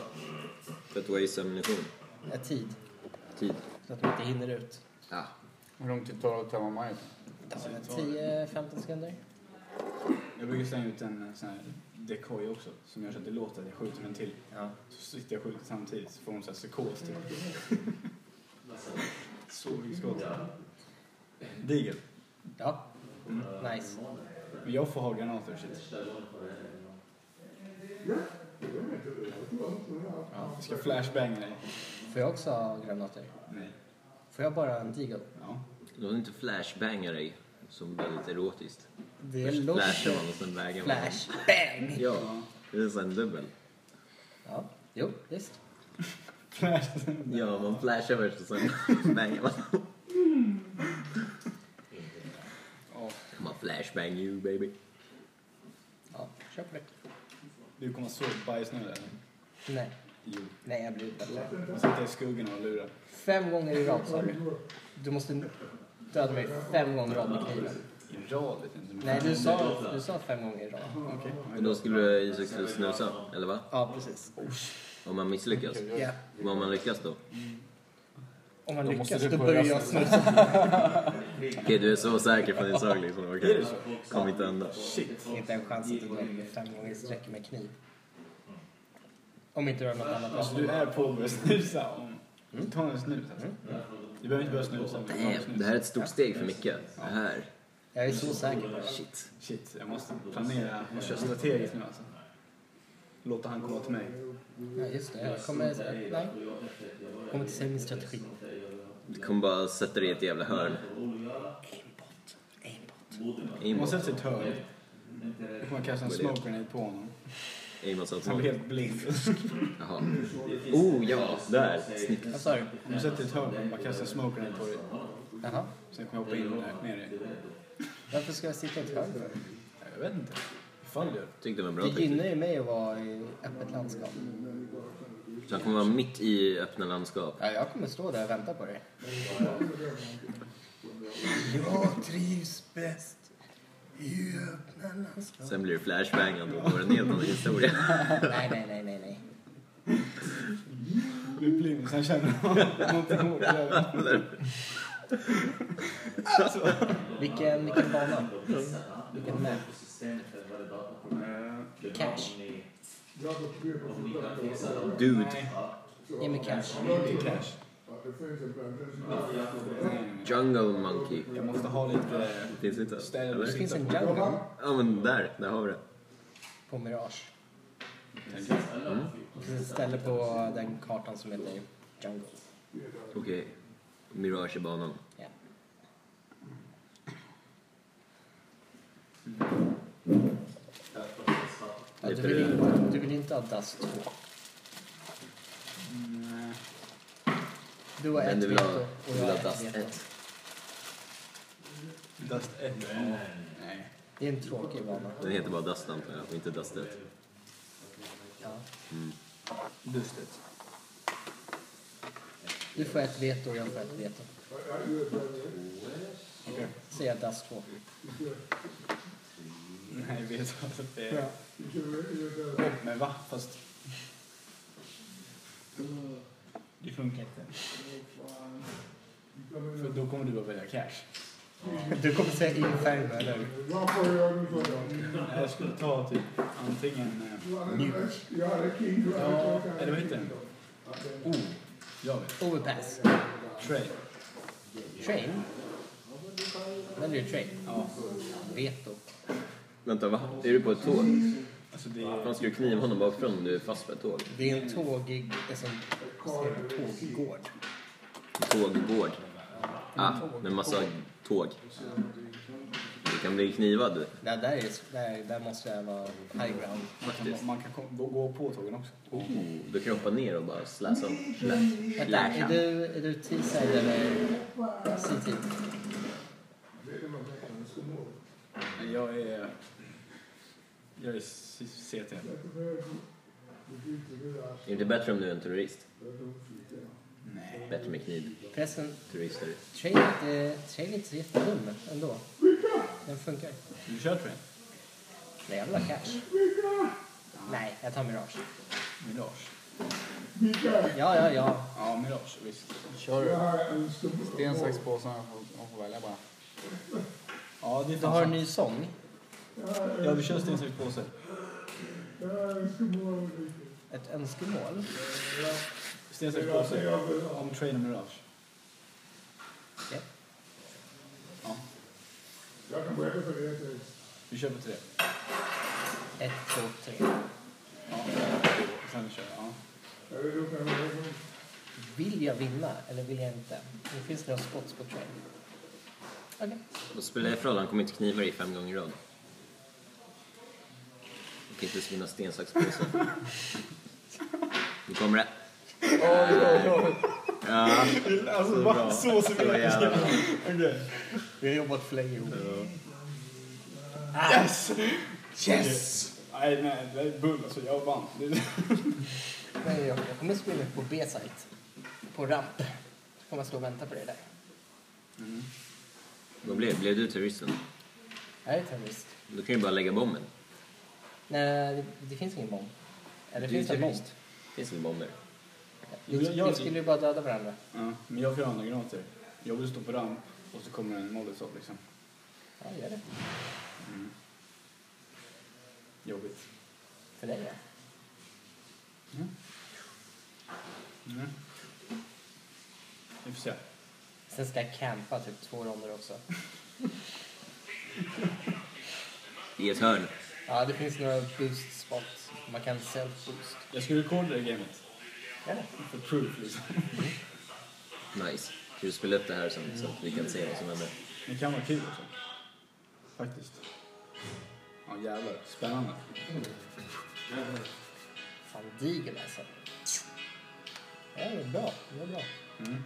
Speaker 1: För att wastea ammunition.
Speaker 2: Jag tid.
Speaker 1: Tid.
Speaker 2: Så att de inte hinner ut.
Speaker 1: Ah.
Speaker 5: Hur lång tid tar det att tömma majsen?
Speaker 2: Ja, 10-15 sekunder.
Speaker 3: Jag brukar slänga ut en eh, sån här decoy också som gör så att det låter att jag skjuter en till.
Speaker 2: Ja.
Speaker 3: Så sitter jag och skjuter samtidigt så får hon så här psykos typ. Så mycket skott. Digert.
Speaker 2: Ja. Nice.
Speaker 3: Men jag får ha granater och shit. Ja, jag ska flashbanga dig.
Speaker 2: Får jag också ha granater?
Speaker 3: Nej.
Speaker 2: Får jag bara en deagle?
Speaker 3: Ja.
Speaker 1: Låt inte flashbanga dig. Som väldigt erotiskt.
Speaker 2: Det
Speaker 1: Först
Speaker 2: låter...
Speaker 1: flashar man och sen vägar man.
Speaker 2: Flash. Bang!
Speaker 1: Ja. Det är så en dubbel.
Speaker 2: Ja. Jo, visst.
Speaker 3: Flash.
Speaker 1: Ja, man flashar först och sen bangar man.
Speaker 3: Ja,
Speaker 1: Come on, flashbang you baby.
Speaker 2: Ja, kör på det.
Speaker 3: du kommer så bajsnödig. eller?
Speaker 2: Nej.
Speaker 3: Jo.
Speaker 2: Nej, jag blir utbäddad.
Speaker 3: Jag sitter i skuggan och lurar.
Speaker 2: Fem gånger i rad sa du. Du måste döda mig fem gånger i rad med kniven.
Speaker 3: I rad vet jag inte. men-
Speaker 2: Nej, du sa, du sa fem gånger i rad.
Speaker 3: Okej.
Speaker 1: Och då skulle Isak skulle snusa, eller va?
Speaker 2: Ja, precis.
Speaker 1: Om man misslyckas.
Speaker 2: Ja.
Speaker 1: Vad om man lyckas då?
Speaker 2: Om man
Speaker 5: Då måste
Speaker 2: lyckas,
Speaker 5: du
Speaker 2: då
Speaker 5: börja
Speaker 2: börjar jag
Speaker 5: snusa.
Speaker 2: snusa.
Speaker 1: Okej, du är så säker på din sak liksom. Okej. Kom inte ända.
Speaker 2: Inte en chans att du dödar mig fem gånger i sträck med kniv. Om inte du har något annat
Speaker 3: Alltså
Speaker 2: vapen.
Speaker 3: du är på att börja snusa. om- Ta en snus alltså. Du behöver inte börja snusa. men ta en
Speaker 1: Nej,
Speaker 3: snus.
Speaker 1: Mm. det här är ett stort steg för Micke. Det här.
Speaker 2: Jag är så säker på det.
Speaker 1: Shit.
Speaker 3: Shit, jag måste planera. Jag kör strategiskt nu alltså. Låta han komma till mig.
Speaker 2: Ja, just det. Jag kommer... Nej. Jag kommer inte säga min strategi.
Speaker 1: Du kommer bara sätta dig i ett jävla hörn.
Speaker 3: Om han
Speaker 1: Aimbot.
Speaker 3: sätter sig i ett hörn. Då får man kasta en smoke grenade på honom.
Speaker 1: Aimbot satt
Speaker 3: Han
Speaker 1: så.
Speaker 3: blir helt blind.
Speaker 1: Jaha. Oh ja, där. Snyggt.
Speaker 2: Vad sa du?
Speaker 3: Om du sätter dig i ett hörn och bara kastar en smoke grenade på dig.
Speaker 2: Jaha.
Speaker 3: Sen kommer jag hoppa in och där, ner dig.
Speaker 2: Varför ska jag sitta i ett hörn för?
Speaker 3: Jag vet inte. Ifall du
Speaker 1: Tyckte det var en bra
Speaker 2: Det
Speaker 1: teknik.
Speaker 2: gynnar ju mig att vara i öppet landskap.
Speaker 1: Så han kommer vara mitt i öppna landskap.
Speaker 2: Ja, jag kommer stå där och vänta på dig. Jag trivs bäst i öppna landskap.
Speaker 1: Sen blir det flashbangande och då är det en helt annan historia.
Speaker 2: Nej, nej, nej, nej, nej.
Speaker 3: blir blind sen känner man att man inte går.
Speaker 2: Vilken, vilken bana? Vilken map? Cash.
Speaker 1: Mm. Dude,
Speaker 2: Ge mig cash.
Speaker 1: jungle monkey.
Speaker 3: Jag måste ha lite...
Speaker 1: Finns inte?
Speaker 3: Ställ-
Speaker 1: Eller?
Speaker 2: Det finns en jungle
Speaker 1: Ja men där, där har vi det.
Speaker 2: på Mirage.
Speaker 3: eh,
Speaker 2: Ett ställe på den kartan som heter Jungle.
Speaker 1: Okej. Mirage i banan.
Speaker 2: Ja. Ja, du, vill inte, du vill inte ha DAS 2.
Speaker 3: Nej.
Speaker 2: Du har
Speaker 1: Mm, Men
Speaker 2: ett
Speaker 1: du vill ha,
Speaker 2: veto
Speaker 1: du
Speaker 2: och jag
Speaker 1: vill ha
Speaker 2: har ett
Speaker 1: Dust
Speaker 2: veto.
Speaker 1: 1.
Speaker 3: Dust 1. Nej.
Speaker 2: Det är en tråkig bana.
Speaker 1: Den heter bara Dust antar jag, och inte Dust Mm. 1.
Speaker 2: Ja.
Speaker 3: Dust 1.
Speaker 2: Du får ett veto och jag får ett veto.
Speaker 3: Okej.
Speaker 2: Så jag DAS 2.
Speaker 3: Nej, vet du att det är... Men va? Fast... Det funkar inte. För då kommer du att välja cash.
Speaker 2: Du kommer säga Inferno, eller hur?
Speaker 3: Jag skulle ta typ antingen... Eh, ja,
Speaker 4: Ja,
Speaker 3: eller vad heter den? Oh, jag vet.
Speaker 2: Overpass.
Speaker 3: Train.
Speaker 2: Train? Väljer du train?
Speaker 3: Ja,
Speaker 2: Veto.
Speaker 1: Vänta, va? Är du på ett tåg?
Speaker 3: alltså det är...
Speaker 1: Man ska ju kniva honom bakifrån om du är fast på ett tåg.
Speaker 2: Det är en tågig... Alltså, vad säger man? tåggård.
Speaker 1: Tåggård. Ah, med massa tåg. Du kan bli knivad.
Speaker 2: Där, där, är, där, där måste jag vara high ground.
Speaker 3: Man kan, man kan kom- gå på tågen också.
Speaker 1: Oh, du kan hoppa ner och bara släsa om. Slä-
Speaker 2: Vänta, är
Speaker 1: Släsa.
Speaker 2: du, är du T-side eller C-side?
Speaker 3: Jag är... Jag är C- CT.
Speaker 1: Är det inte bättre om du är en terrorist?
Speaker 3: Nej.
Speaker 1: Bättre med kniv.
Speaker 2: Pressen,
Speaker 1: Terrorister.
Speaker 2: train är inte- train eh, är inte så jättedum ändå. Den funkar.
Speaker 3: Du kör train?
Speaker 2: Nej, jag vill ha cash. Nej, jag tar Mirage.
Speaker 3: Mirage?
Speaker 2: Ja, ja, ja.
Speaker 3: Ja, Mirage. Visst.
Speaker 5: Kör sten, sax, påse. Man får- man får välja bara.
Speaker 3: Ja, det är
Speaker 2: Du har en ny sång.
Speaker 3: Ja, vi kör sten, sax, påse.
Speaker 2: Ett önskemål.
Speaker 3: Sten, sax, påse. Om train och Mirage.
Speaker 2: Ja.
Speaker 3: Ja. Vi kör på tre.
Speaker 2: Ett, två, tre.
Speaker 3: Ja. Sen kör jag. Ja.
Speaker 2: Vill jag vinna eller vill jag inte? Nu finns det några spots på train. Okej.
Speaker 1: Då spelar jag för roll, han kommer inte kniva dig fem gånger i rad. Du kan inte vinna sten, sax, påse. Nu kommer det. Ja, så bra. Så jävla bra.
Speaker 2: Vi har jobbat för länge ihop.
Speaker 3: Yes! Yes! Nej, nej, det är bull alltså. Jag vann. Det-
Speaker 2: Men jag, jag kommer spela på B-site. På ramp. Så kommer jag stå och vänta på det där.
Speaker 1: Vad blev, blev du terroristen?
Speaker 2: Jag är terrorist.
Speaker 1: Då kan du bara lägga bomben.
Speaker 2: Nej, det, det finns ingen bomb. Eller
Speaker 1: Du är
Speaker 2: finns det en bomb?
Speaker 1: terrorist. finns väl bomber?
Speaker 2: Vi,
Speaker 3: Jo, jag- jag-
Speaker 2: vi skulle ju bara döda varandra.
Speaker 3: Ja, men jag får andra granater. Jag vill stå på ramp och så kommer en molotov liksom. Mm.
Speaker 2: Ja, gör det.
Speaker 3: Jobbigt.
Speaker 2: För dig, ja.
Speaker 3: Mm. Vi får se.
Speaker 2: Sen ska jag campa typ två ronder också.
Speaker 1: I ett hörn.
Speaker 2: Ja, det finns några boost spots. Man kan self-boost.
Speaker 3: Jag skulle rekorda det gamet.
Speaker 2: Gör det.
Speaker 3: För proof liksom.
Speaker 1: Nice. Ska du spela upp det här sen så att vi kan se vad som händer?
Speaker 3: Det kan vara kul också. Faktiskt. Ja jävlar. Spännande.
Speaker 2: Fan, diger alltså. Ja, det är bra. Det är bra.
Speaker 3: Mm.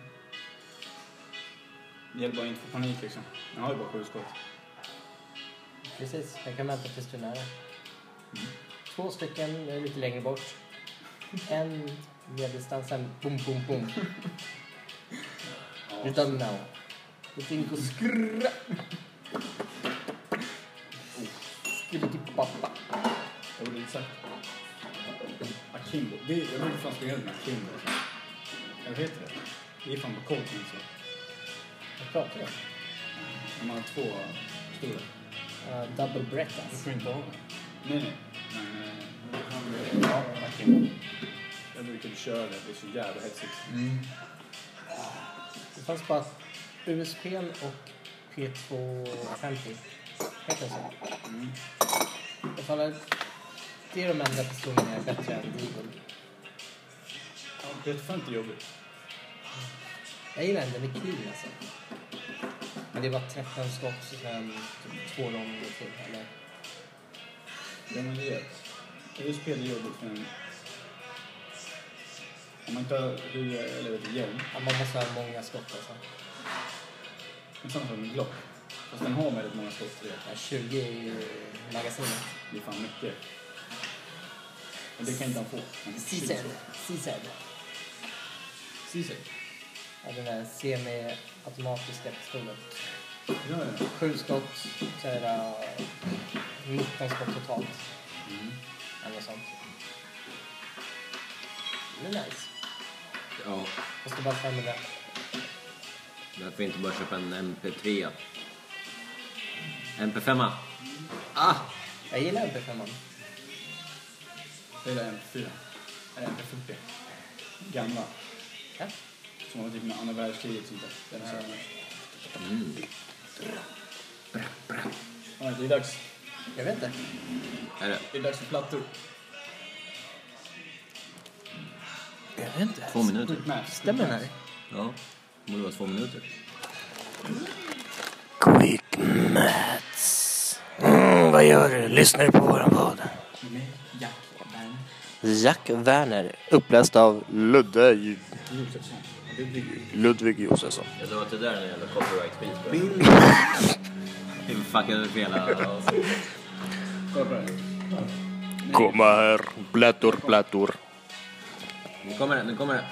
Speaker 3: Det gäller bara att inte få panik liksom. Jag har ju bara sju skott.
Speaker 2: Precis, jag kan vänta tills du är nära. Två stycken eh, lite längre bort. En medeldistans, sen boom, boom, boom.
Speaker 3: Ja.
Speaker 2: You don't know. You think you skrrra. Skrikipappa.
Speaker 3: Jag borde inte sagt. Akimbo. Det, jag borde fan springa ut med Akimbo. Alltså. Jag vet det. Det är fan på coaching så.
Speaker 2: Vad pratar du om?
Speaker 3: När man har två stora.
Speaker 2: Eh, double breakfast.
Speaker 3: inte ha det. Nej, nej. Men, eh, ja, Akimbo. Jag brukar inte köra det. Det är så jävla hetsigt.
Speaker 2: Det fanns bara USP och
Speaker 3: Mm.
Speaker 2: P250. Heter det så? Ifall jag Det är de enda pistolerna jag är bättre än Deagle.
Speaker 3: Det är fan inte jobbigt.
Speaker 2: Jag gillar ändå med kniv alltså. Men det är bara 13 skott och sen typ två ronder till. Eller?
Speaker 3: Ja, men det är det. är spel är jobbigt för en... Om man inte har huvud eller vet, hjälm.
Speaker 2: Ja, man måste ha många skott alltså.
Speaker 3: Det är samma sak med Glock. Fast den har väldigt många skott i det.
Speaker 2: Ja, 20 i magasinet.
Speaker 3: Det är fan mycket. Men det kan inte han få. Han är
Speaker 2: C-side.
Speaker 3: skitsvår.
Speaker 2: C-side.
Speaker 3: Ceesay.
Speaker 2: Ja, den där semi-automatiska pistolen.
Speaker 3: Ja, ja.
Speaker 2: Sju skott, så är det eh, 19 skott totalt. Mm. Eller något sånt. Det är nice.
Speaker 1: Ja,
Speaker 2: Kostar bara 500.
Speaker 1: varför inte bara köpa en MP3? MP5. Ah!
Speaker 2: Jag gillar MP5.
Speaker 3: Det är en fyra. Eller en 40. Gamla.
Speaker 2: Ja.
Speaker 3: Som har typ med andra världskriget och sånt där. Den här. Mm. Bra, bra. Ja, det är dags.
Speaker 2: Jag vet inte.
Speaker 1: Är det
Speaker 3: Det är dags för plattor.
Speaker 2: Jag vet inte.
Speaker 1: två minuter?
Speaker 3: Nej,
Speaker 2: Stämmer den här?
Speaker 1: Ja, det borde vara två minuter.
Speaker 7: Quick Mats. Mm, vad gör du? Lyssnar du på våran podd? Jack Werner, uppläst av Ludde... Ludvig Josefsson.
Speaker 1: Jag sa att det där är en jävla copyright-skit. Vi fuckade upp hela avsnittet.
Speaker 7: Komma här, plattor, plattor.
Speaker 1: Nu kommer det, nu kommer det.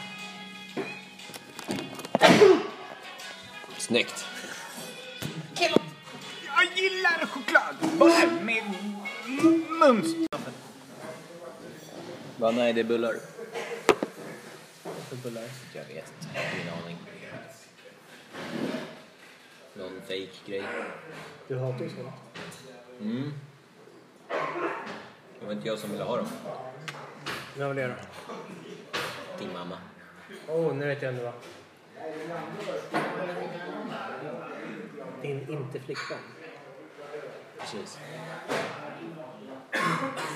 Speaker 1: Snyggt. Jag gillar choklad, bara med mums. Va, nej, det är bullar. Bullar? Jag vet inte, ingen aning. Någon fake grej. Mm.
Speaker 2: Du hatar ju sånt.
Speaker 1: Det var inte jag som ville ha dem.
Speaker 2: Vem var det då?
Speaker 1: Din mamma.
Speaker 2: Åh, oh, nu vet jag ändå vad. Din inte flickvän.
Speaker 1: Precis.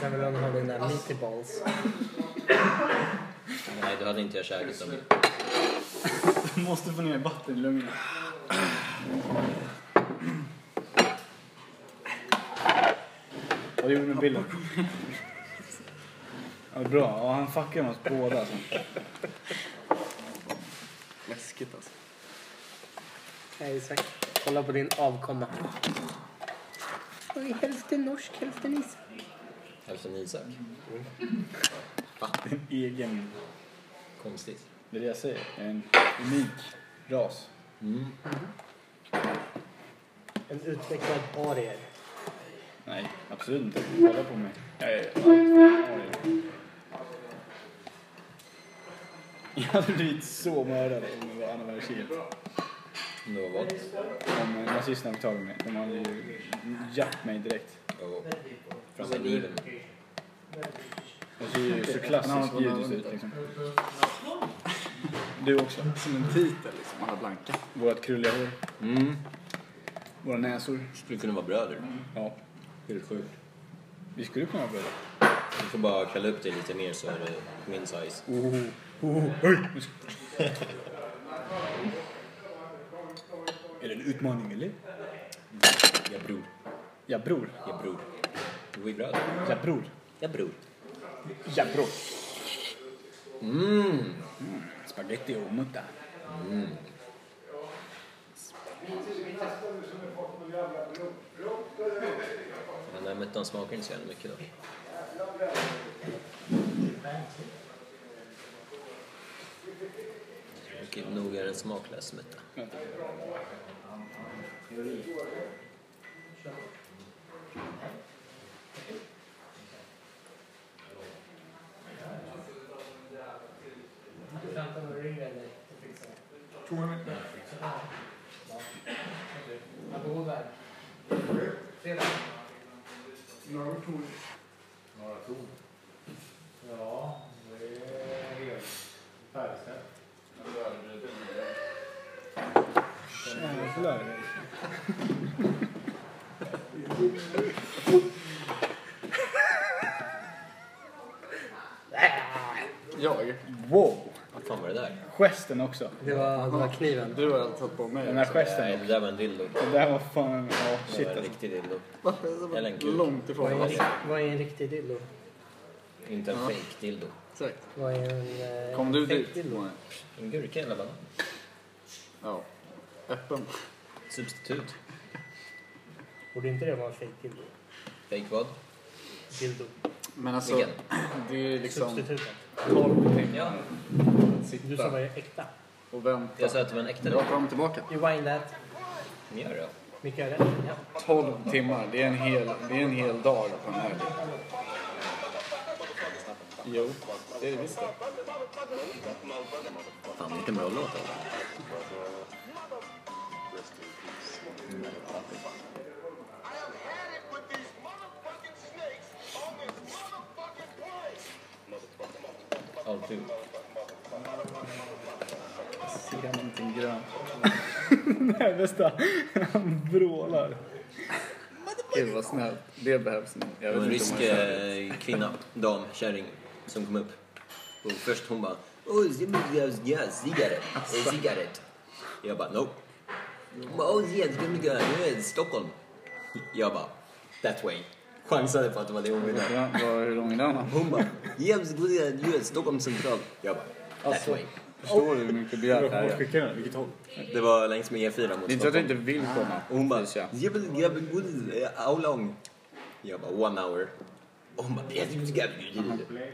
Speaker 2: Sen vill hon ha dina meatballs.
Speaker 1: Nej, då hade inte jag käkat dem.
Speaker 3: Du måste få ner vatten i lungorna. Vad gjorde du med bilden? Ja, bra, ja, han fuckade med oss båda. Alltså.
Speaker 5: Läskigt alltså.
Speaker 2: Nej, Isak. Kolla på din avkomma. Oj, hälften norsk, hälften is.
Speaker 1: Hälften Isak.
Speaker 3: Egen.
Speaker 1: Konstigt.
Speaker 3: Det är det jag säger. En unik ras.
Speaker 2: En utvecklad arier.
Speaker 3: Nej, absolut inte. Kolla på mig. Jag är... Jag hade blivit så mördad om det var andra världskriget.
Speaker 1: Det var vad?
Speaker 3: Om eh, nazisterna fick tag i mig. De hade ju jatt mig direkt.
Speaker 1: Och
Speaker 3: Fram
Speaker 1: med liven.
Speaker 3: Och så är det ju så klassiskt judiskt ut liksom. Du också.
Speaker 5: Som en titel liksom, alla blanka.
Speaker 3: Vårat krulliga hår.
Speaker 1: Mm.
Speaker 3: Våra näsor.
Speaker 1: Skulle kunna vara bröder.
Speaker 3: Ja.
Speaker 1: Helt sjukt.
Speaker 3: Vi skulle kunna vara bröder.
Speaker 1: Du får bara kalla upp dig lite mer så är det min size.
Speaker 3: Är det en utmaning eller?
Speaker 1: Jag bror.
Speaker 3: Ja bror.
Speaker 1: Jag bror. Du är bröder.
Speaker 3: Ja bror.
Speaker 1: Jag bror.
Speaker 3: Ja bror.
Speaker 1: Mm.
Speaker 3: Spaghetti och mutta.
Speaker 1: Den där muttan smakar inte så jävla mycket då. Mycket nogare typ en smaklös mutta.
Speaker 3: Jävlar.
Speaker 5: Jag?
Speaker 3: Wow!
Speaker 1: Vad fan var det där?
Speaker 3: Gesten också.
Speaker 2: Det var, det var kniven.
Speaker 5: Du har tagit på mig.
Speaker 3: Den här
Speaker 1: Nej,
Speaker 3: gesten.
Speaker 1: Eh, det där var en dildo.
Speaker 3: Det där var fan... Ja,
Speaker 1: Det
Speaker 3: shit
Speaker 1: var en
Speaker 3: alltså.
Speaker 1: riktig dildo. Eller en
Speaker 5: Varför?
Speaker 1: kuk.
Speaker 5: Långt
Speaker 2: Vad
Speaker 5: ifrån.
Speaker 2: är, en- vad är en riktig dildo?
Speaker 1: Inte en fake dildo.
Speaker 5: Exakt.
Speaker 2: Vad är en... eh,
Speaker 5: Kom du
Speaker 2: fake
Speaker 5: dit?
Speaker 2: dildo?
Speaker 5: Nej.
Speaker 1: En gurka eller banan.
Speaker 5: Ja. Öppen.
Speaker 1: Substitut.
Speaker 2: Borde inte det vara en fake dildo?
Speaker 1: Fake vad?
Speaker 2: dildo.
Speaker 5: Men alltså,
Speaker 1: Vilken?
Speaker 5: det är liksom
Speaker 2: Substitutet.
Speaker 5: 12 timmar
Speaker 1: Ja,
Speaker 5: att
Speaker 2: Du som var
Speaker 5: sitta
Speaker 2: ju äkta.
Speaker 5: och vänta.
Speaker 1: jag sa att det var en äkta
Speaker 5: Det var
Speaker 1: dildo.
Speaker 5: fram och tillbaka.
Speaker 2: Rewind that.
Speaker 1: Gör det.
Speaker 2: Mycket är rätt. Ja.
Speaker 5: 12 timmar, det är en hel, det är en hel dag på den här. Jo, det är det visst det.
Speaker 1: Fan, vilken bra låt. alltså. Alltid.
Speaker 3: Ser någonting grönt. Nej, bästa. Han vrålar.
Speaker 5: Gud vad snällt. Det behövs nu. Jag
Speaker 1: Det var en
Speaker 5: vet
Speaker 1: rysk
Speaker 5: inte om jag känner.
Speaker 1: eh, kvinna, dam, kärring som kom upp. Och först hon bara... Oh, cigarett. Cigarett. Jag bara no. Hon bara, Oh, yes, good girl. Nu är det Stockholm. Jag bara that way. Chansade på att det var det hon ville.
Speaker 5: Ja, vad- Hur lång är den?
Speaker 1: Hon bara yes, good girl. Nu är det Stockholm central. Jag bara alltså, that way.
Speaker 5: Förstår du hur mycket begärt det här är?
Speaker 3: Skickar den? Vilket håll?
Speaker 1: Det var längs med E4
Speaker 5: Det är
Speaker 1: mot
Speaker 5: inte så att jag
Speaker 1: Stockholm.
Speaker 5: inte vill komma.
Speaker 1: Och hon bara
Speaker 5: Felicia.
Speaker 1: jebel, jebel, good, eh, how long? Jag bara one hour. Och hon bara yes, good girl.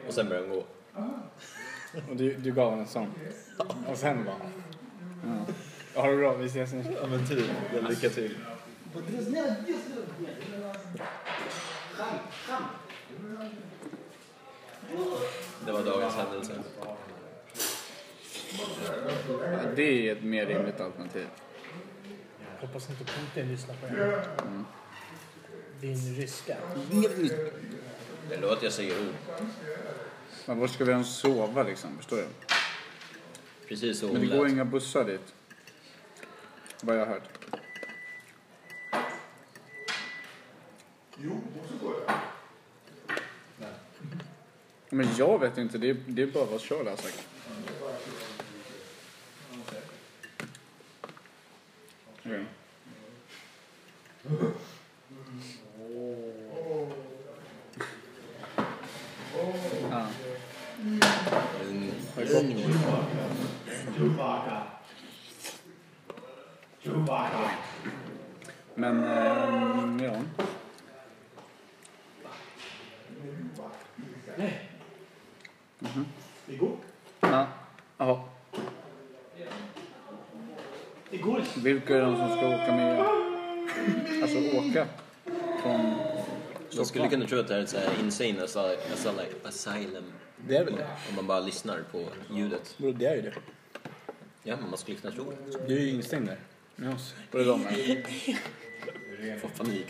Speaker 1: Och sen började hon gå.
Speaker 3: Och du, du gav henne en sån. Och sen bara... Ja. Ha det bra, vi ses nästa Ja men typ. Lycka till.
Speaker 1: Det var dagens händelse.
Speaker 5: Det är ett mer rimligt alternativ.
Speaker 2: Hoppas inte Putin lyssnar på det här.
Speaker 5: Mm.
Speaker 2: Din ryska.
Speaker 1: Det låter jag säger ord.
Speaker 5: Men var ska vi ens sova liksom? Förstår du?
Speaker 1: Precis så
Speaker 5: Men det
Speaker 1: hon
Speaker 5: går
Speaker 1: lät.
Speaker 5: inga bussar dit. Vad jag har hört. Men jag vet inte, det är, det är bara vad Charlie har sagt. Okej. Ja. Men, ehm, ja.
Speaker 4: Mm-hmm. Igår?
Speaker 5: Ja. Jaha.
Speaker 4: Igår?
Speaker 5: Vilka är de som ska åka med? Alltså åka från
Speaker 1: Man skulle
Speaker 5: Stockholm?
Speaker 1: kunna tro att det här är ett så här insane asy- asy- asylum.
Speaker 3: Det är väl det?
Speaker 1: Om man bara lyssnar på ljudet.
Speaker 3: Bro, det är ju det.
Speaker 1: Ja, men man skulle kunna tro det.
Speaker 3: Du är ju instängd där. Med oss.
Speaker 5: Var det de är?
Speaker 1: Får panik.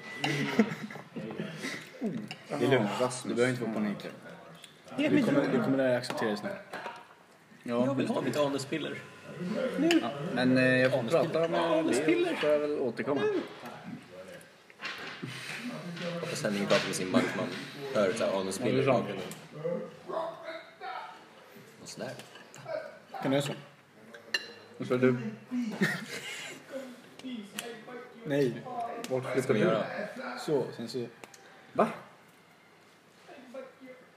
Speaker 3: Det är lugnt. Du behöver inte få panik. Du kommer, du kommer att acceptera det snart.
Speaker 1: Jag vill ha mitt anuspiller.
Speaker 5: Ja, Men eh, jag får prata med Leo så får jag väl återkomma.
Speaker 1: Mm. Och sen ni pratar med sin bankman. Hör så här
Speaker 5: Ja, det
Speaker 1: anuspiller
Speaker 5: är
Speaker 1: i
Speaker 5: sant.
Speaker 1: bakgrunden. Och sådär.
Speaker 3: Kan du göra så?
Speaker 5: Och så du,
Speaker 3: Nej.
Speaker 5: vart
Speaker 1: Ska
Speaker 5: flyttar
Speaker 1: vi
Speaker 5: du?
Speaker 1: göra?
Speaker 3: Så, sen så...
Speaker 5: Va?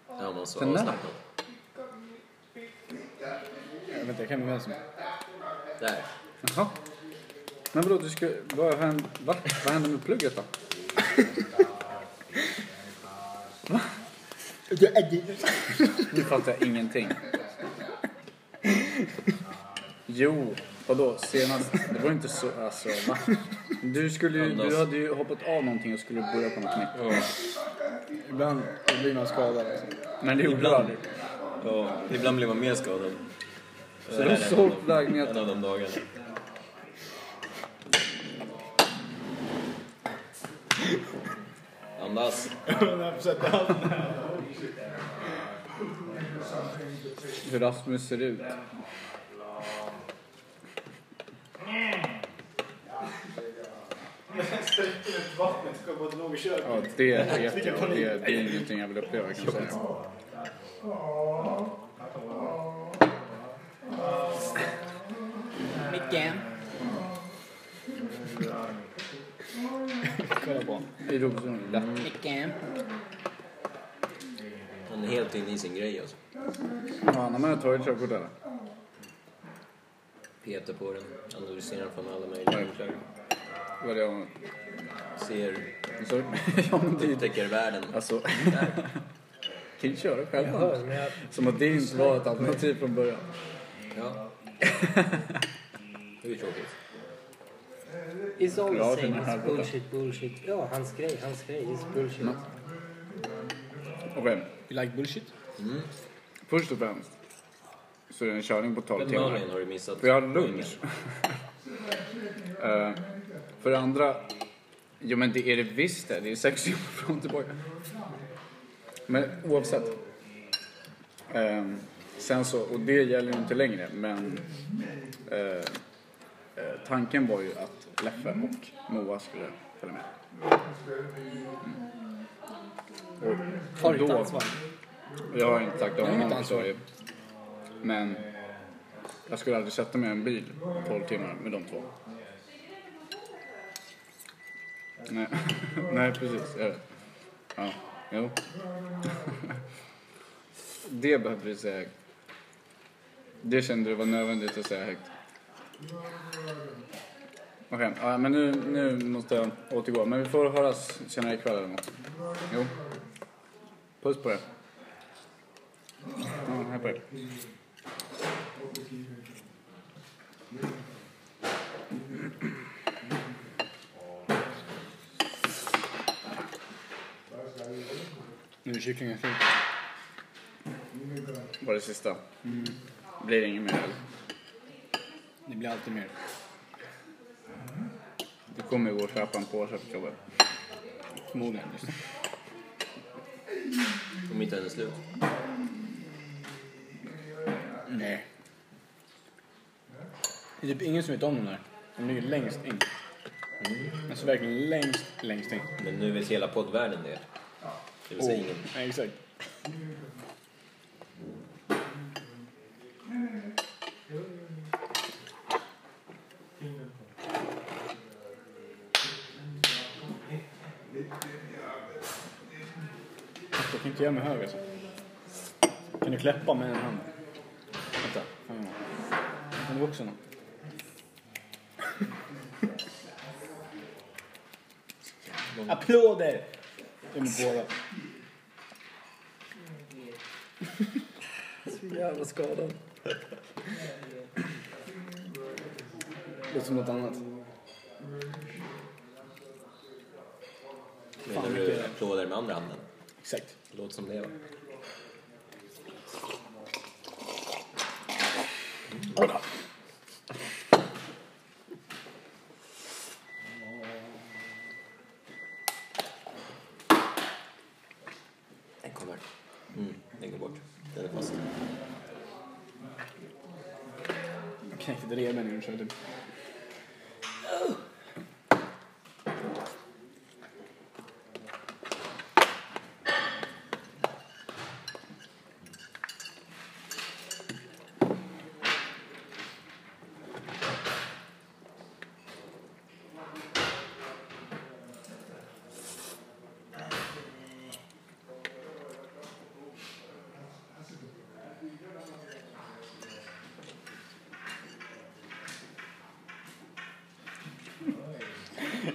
Speaker 1: Ja, man så
Speaker 5: Den där?
Speaker 1: avslappnad.
Speaker 3: Vänta, jag kan med vem som
Speaker 1: Där.
Speaker 5: Jaha. Men vadå, du ska, vad händer, va? Vad händer med plugget då? Nu fattar jag ingenting. Jo, vadå senast? Det var inte så, alltså va? Du skulle ju, du hade ju hoppat av någonting och skulle börja på något nytt.
Speaker 3: Ibland blir man skadad. Alltså.
Speaker 5: Men det gjorde du
Speaker 1: Ibland.
Speaker 5: aldrig.
Speaker 1: Ja, ibland blir man mer skadad.
Speaker 5: Så du har sålt
Speaker 1: En
Speaker 5: lägenheten.
Speaker 1: av de dagarna. Andas.
Speaker 5: Hur Rasmus ser ut.
Speaker 4: Vattnet ska vara nog och köra.
Speaker 5: Ja, det vet jag. och Det, det är ingenting jag vill uppleva kan jag säga.
Speaker 3: Damn.
Speaker 5: Kolla på I Robinson lätt.
Speaker 3: Damn.
Speaker 1: Han är helt inne i sin grej alltså.
Speaker 5: Ja, när man har tagit körkort eller?
Speaker 1: Petar på den, analyserar den från alla möjliga vinklar.
Speaker 5: Vad är det jag...
Speaker 1: Ser,
Speaker 5: Vad sa du? Ja, men det är ju det.
Speaker 1: upptäcker världen.
Speaker 5: Alltså,
Speaker 1: Där.
Speaker 5: kan du köra själv
Speaker 2: Jag
Speaker 5: annars?
Speaker 2: hör, men jag...
Speaker 5: Som att det inte var ett alternativ från början.
Speaker 1: Ja. Det är ju tråkigt.
Speaker 2: It's all
Speaker 5: Ja,
Speaker 2: the
Speaker 5: den
Speaker 2: same.
Speaker 5: här Mm.
Speaker 2: It's
Speaker 5: borta.
Speaker 2: bullshit, bullshit. Ja, hans grej, hans grej. It's bullshit.
Speaker 5: Okej,
Speaker 3: You like bullshit?
Speaker 5: Mm. först och främst så är det en körning på 12
Speaker 1: Men
Speaker 5: timmar.
Speaker 1: Malin har du missat.
Speaker 5: För jag har lunch. Eh, för det andra, jo men det är det visst det. Det är sex timmar fram och tillbaka. Men oavsett. Ehm, sen så, och det gäller ju inte längre men eh, eh, tanken var ju att Leffe och Moa skulle följa med. Mm.
Speaker 3: Har du ett
Speaker 5: Då-
Speaker 3: ansvar?
Speaker 5: Jag har inte sagt om
Speaker 3: Nej, inte
Speaker 5: honom
Speaker 3: alls.
Speaker 5: så ju. Men jag skulle aldrig sätta mig i en bil 12 timmar med de två. Nej, Nej precis. Jag vet. Ja, jo. Det behövde vi säga högt. Det kände du var nödvändigt att säga högt. Okej, ja, men nu, nu måste jag återgå. Men vi får höras senare ikväll eller något. Jo. Puss på er. Ja, här på er. Nu är kycklingen slut. Var det sista? Blir det inget mer eller?
Speaker 3: Det blir alltid mer.
Speaker 5: Du kommer ju gå och köpa en påse på jobbet.
Speaker 3: Förmodligen. just.
Speaker 1: Om inte än är slut.
Speaker 3: Nej. Det är typ ingen som vet om den här. Den ligger längst in. Alltså verkligen längst, längst in.
Speaker 1: Men nu vet hela poddvärlden det. Det vill
Speaker 3: Oh.
Speaker 1: säga ingen.
Speaker 3: Nej, exakt. Jag kan inte göra mig hög alltså. Kan du kläppa med en hand? Vänta, fan vad Kan du också någon? Applåder! Det är med båda.
Speaker 2: Så jävla skadad.
Speaker 3: Låter som något annat.
Speaker 1: Menar du applåder med andra handen?
Speaker 3: Exakt.
Speaker 1: Det låter som det va? Den kommer. Mm, den går bort. Den är fast.
Speaker 3: Jag knäckte reben i den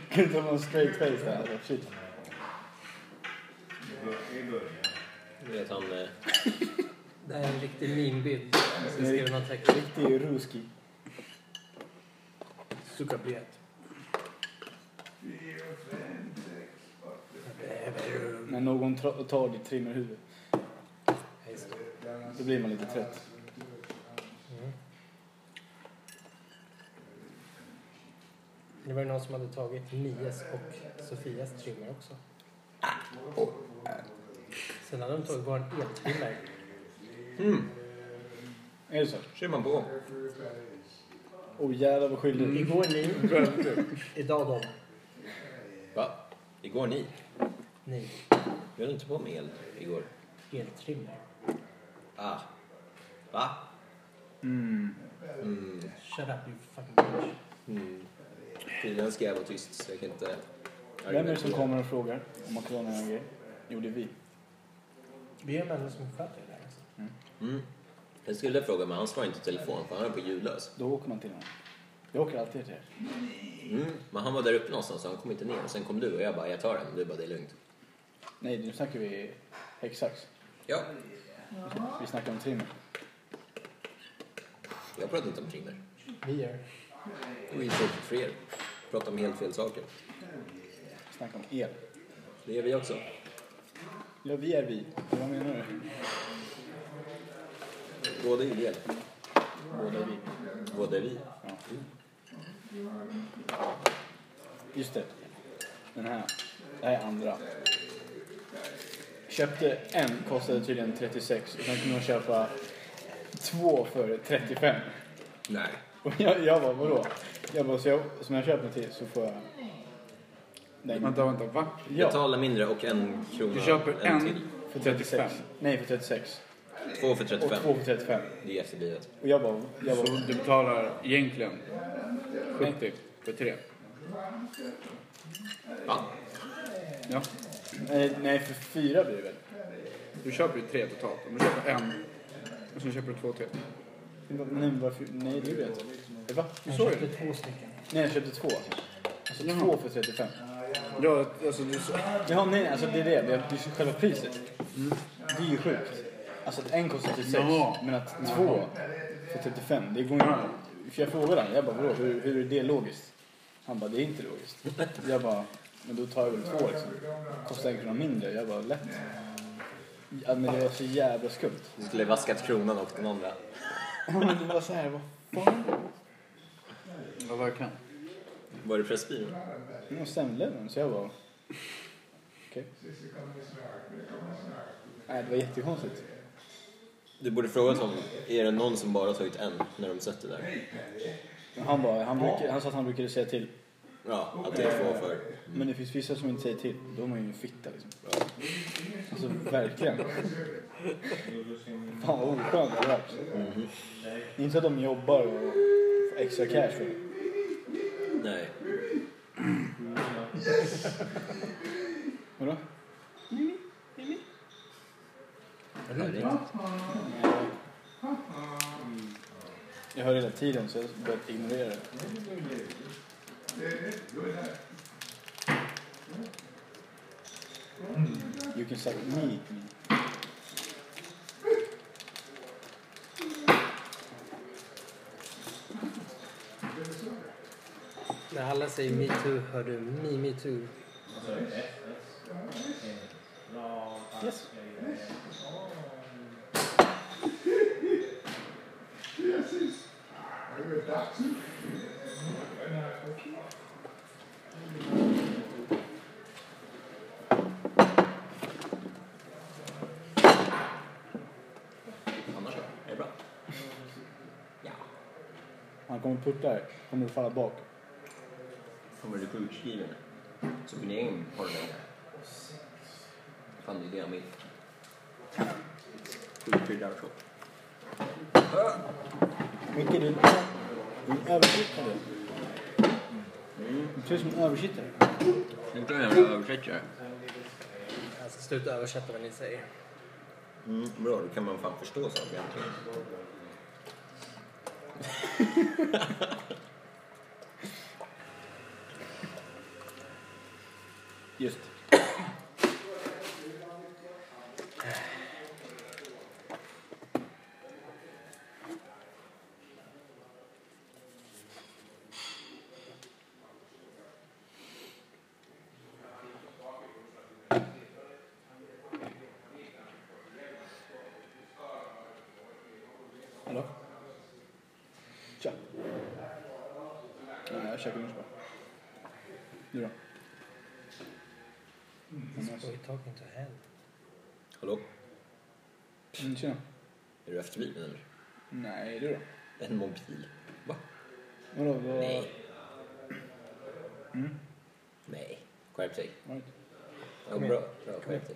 Speaker 8: Kan du ta någon straight face där? Alltså, shit.
Speaker 1: Du vet han... eh,
Speaker 2: Det här är en riktig meme-bild. Jag ska skriva någon text.
Speaker 8: Riktig ruski.
Speaker 2: Suka biet.
Speaker 8: När någon tra- tar ditt trimmerhuvud.
Speaker 2: Hej, så.
Speaker 8: Då blir man lite trött.
Speaker 2: Det var ju någon som hade tagit Mias och Sofias trimmer också.
Speaker 5: Ah, oh, äh.
Speaker 2: Sen hade de tagit vår eltrimmer.
Speaker 8: Är det så?
Speaker 1: kör man på.
Speaker 8: Åh jävlar vad skyldig.
Speaker 5: Mm.
Speaker 2: Igår ni, idag de.
Speaker 1: Va? Igår ni?
Speaker 2: Ni.
Speaker 1: Vi höll inte på med el igår.
Speaker 2: Eltrimmer.
Speaker 1: Ah. Va?
Speaker 9: Shut up you fucking bitch.
Speaker 1: Tydligen ska jag vara tyst så jag kan inte...
Speaker 3: Vem är det som kommer och frågar om man kan låna några grejer? Jo, det är vi.
Speaker 9: Vi är människor som sköter det där. Alltså.
Speaker 1: Mm. Jag skulle fråga men han svarar inte i telefon för han är på ljudlös.
Speaker 3: Då åker man till någon. Jag åker alltid till er.
Speaker 1: Mm. Men han var där uppe någonstans så han kom inte ner. Sen kom du och jag bara, jag tar den. Du bara, det är lugnt.
Speaker 3: Nej, nu snackar vi häcksax.
Speaker 1: Ja,
Speaker 3: Vi snackar om trimmer.
Speaker 1: jag pratar inte om trimmer.
Speaker 9: Vi gör.
Speaker 1: Det är ju tråkigt för er. Pratar om helt fel saker.
Speaker 3: Vi snackar om el.
Speaker 1: Det gör vi också.
Speaker 3: Ja, vi är vi. Vad menar du?
Speaker 1: Båda är ju del.
Speaker 3: Båda är vi.
Speaker 1: Båda är vi.
Speaker 3: Just det. Den här. Det här är andra. Köpte en, kostade tydligen 36 och sen kunde man köpa två för 35.
Speaker 1: Nej.
Speaker 3: Och jag, jag bara, vadå? Jag bara, så jag, som jag köper till så får jag... Den.
Speaker 5: Vänta, vänta, va?
Speaker 3: Ja,
Speaker 1: Betala mindre och en krona.
Speaker 5: Du köper en
Speaker 1: till.
Speaker 3: för 36. Nej, för 36.
Speaker 1: Två för
Speaker 3: Och
Speaker 1: 35.
Speaker 3: två för 35.
Speaker 1: Det är efterblivet.
Speaker 3: Och jag bara, jag
Speaker 5: Så
Speaker 3: bara
Speaker 5: du betalar egentligen 70 för tre?
Speaker 1: Va?
Speaker 5: Ja.
Speaker 3: nej, nej, för fyra blir det väl?
Speaker 5: Du köper ju tre totalt. Om du köper en och sen köper du två till.
Speaker 3: Jag bara, Nej, men varför? Nej, du vet. Jag bara,
Speaker 5: Du
Speaker 9: Jag
Speaker 5: sa ju
Speaker 9: köpte
Speaker 5: det.
Speaker 9: två stycken.
Speaker 3: nej, jag köpte två. Alltså två för 35.
Speaker 5: Ja, alltså du sa...
Speaker 3: Jaha, nej, alltså det är det. Det är det är själva priset. Det är ju sjukt. Alltså att en kostar 36,
Speaker 5: Jaha.
Speaker 3: men att två för 35, det går ju inte. För jag frågade honom, jag bara vadå, hur, hur är det logiskt? Han bara, det är inte logiskt. Jag bara, men då tar jag väl två liksom. Kostar en krona mindre. Jag bara, lätt. Ja, men det var så jävla skumt.
Speaker 1: Du skulle vaskat kronan och den andra.
Speaker 3: Ja, men det var så här, vad fan?
Speaker 5: Ja, vad jag kan.
Speaker 1: Var det pressbyrån?
Speaker 3: Det var stämlevern, så jag bara... Okej. Nej, det var jättekonstigt.
Speaker 1: Du borde fråga honom, är det någon som bara har tagit en när de sett det där?
Speaker 3: Men han, bara, han, brukar, han sa att han brukade säga till.
Speaker 1: Ja, att det är två för...
Speaker 3: Men det finns vissa som inte säger till. Då är man ju en fitta liksom. Alltså verkligen. Fan vad oskönt det där. Det är inte så att de jobbar och får extra cash för det.
Speaker 1: Nej.
Speaker 3: Vadå?
Speaker 1: Herregud.
Speaker 3: Jag hör hela tiden så jag har börjat ignorera det. You can suck me. me.
Speaker 9: När alla säger metoo hör du me metoo.
Speaker 3: Yes.
Speaker 1: Annars då? Är det bra? Ja.
Speaker 3: Han kommer putta här. Kommer du falla bak?
Speaker 1: Kommer du sjukskriven? Så min egen har du längre. Fan, det är det jag vill. Sjukskyddarchock.
Speaker 3: Micke, du du är en översittare. Du ser ut som en översittare.
Speaker 5: Inte en jävla översättare.
Speaker 9: Alltså sluta översätta vad ni säger.
Speaker 1: Mm, bra, då kan man fan förstå saker äntligen.
Speaker 3: Just. Hallå? Tja. Nej, jag käkar lunch bara. Du då?
Speaker 9: We're talking to hell.
Speaker 1: Hallå?
Speaker 3: Mm, tjena.
Speaker 1: Är du efterbliven eller?
Speaker 3: Nej, du då?
Speaker 1: En mobil? Va?
Speaker 3: Vadå? Vad...
Speaker 1: Nej. Nej. Skärp dig.
Speaker 3: Right.
Speaker 1: Ja, bra. Bra, skärp dig.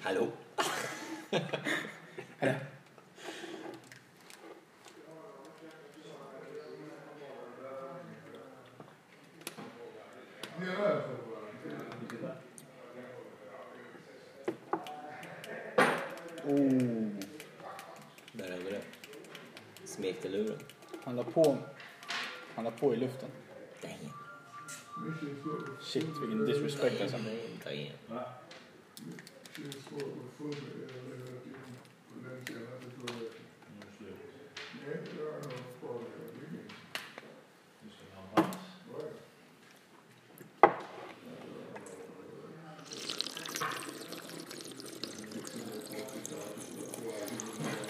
Speaker 1: Hallå? Där har vi det. Smekte luren.
Speaker 3: Han la på. Han la på i luften.
Speaker 1: Damn.
Speaker 3: Shit, vilken disrespect alltså.
Speaker 1: Damn.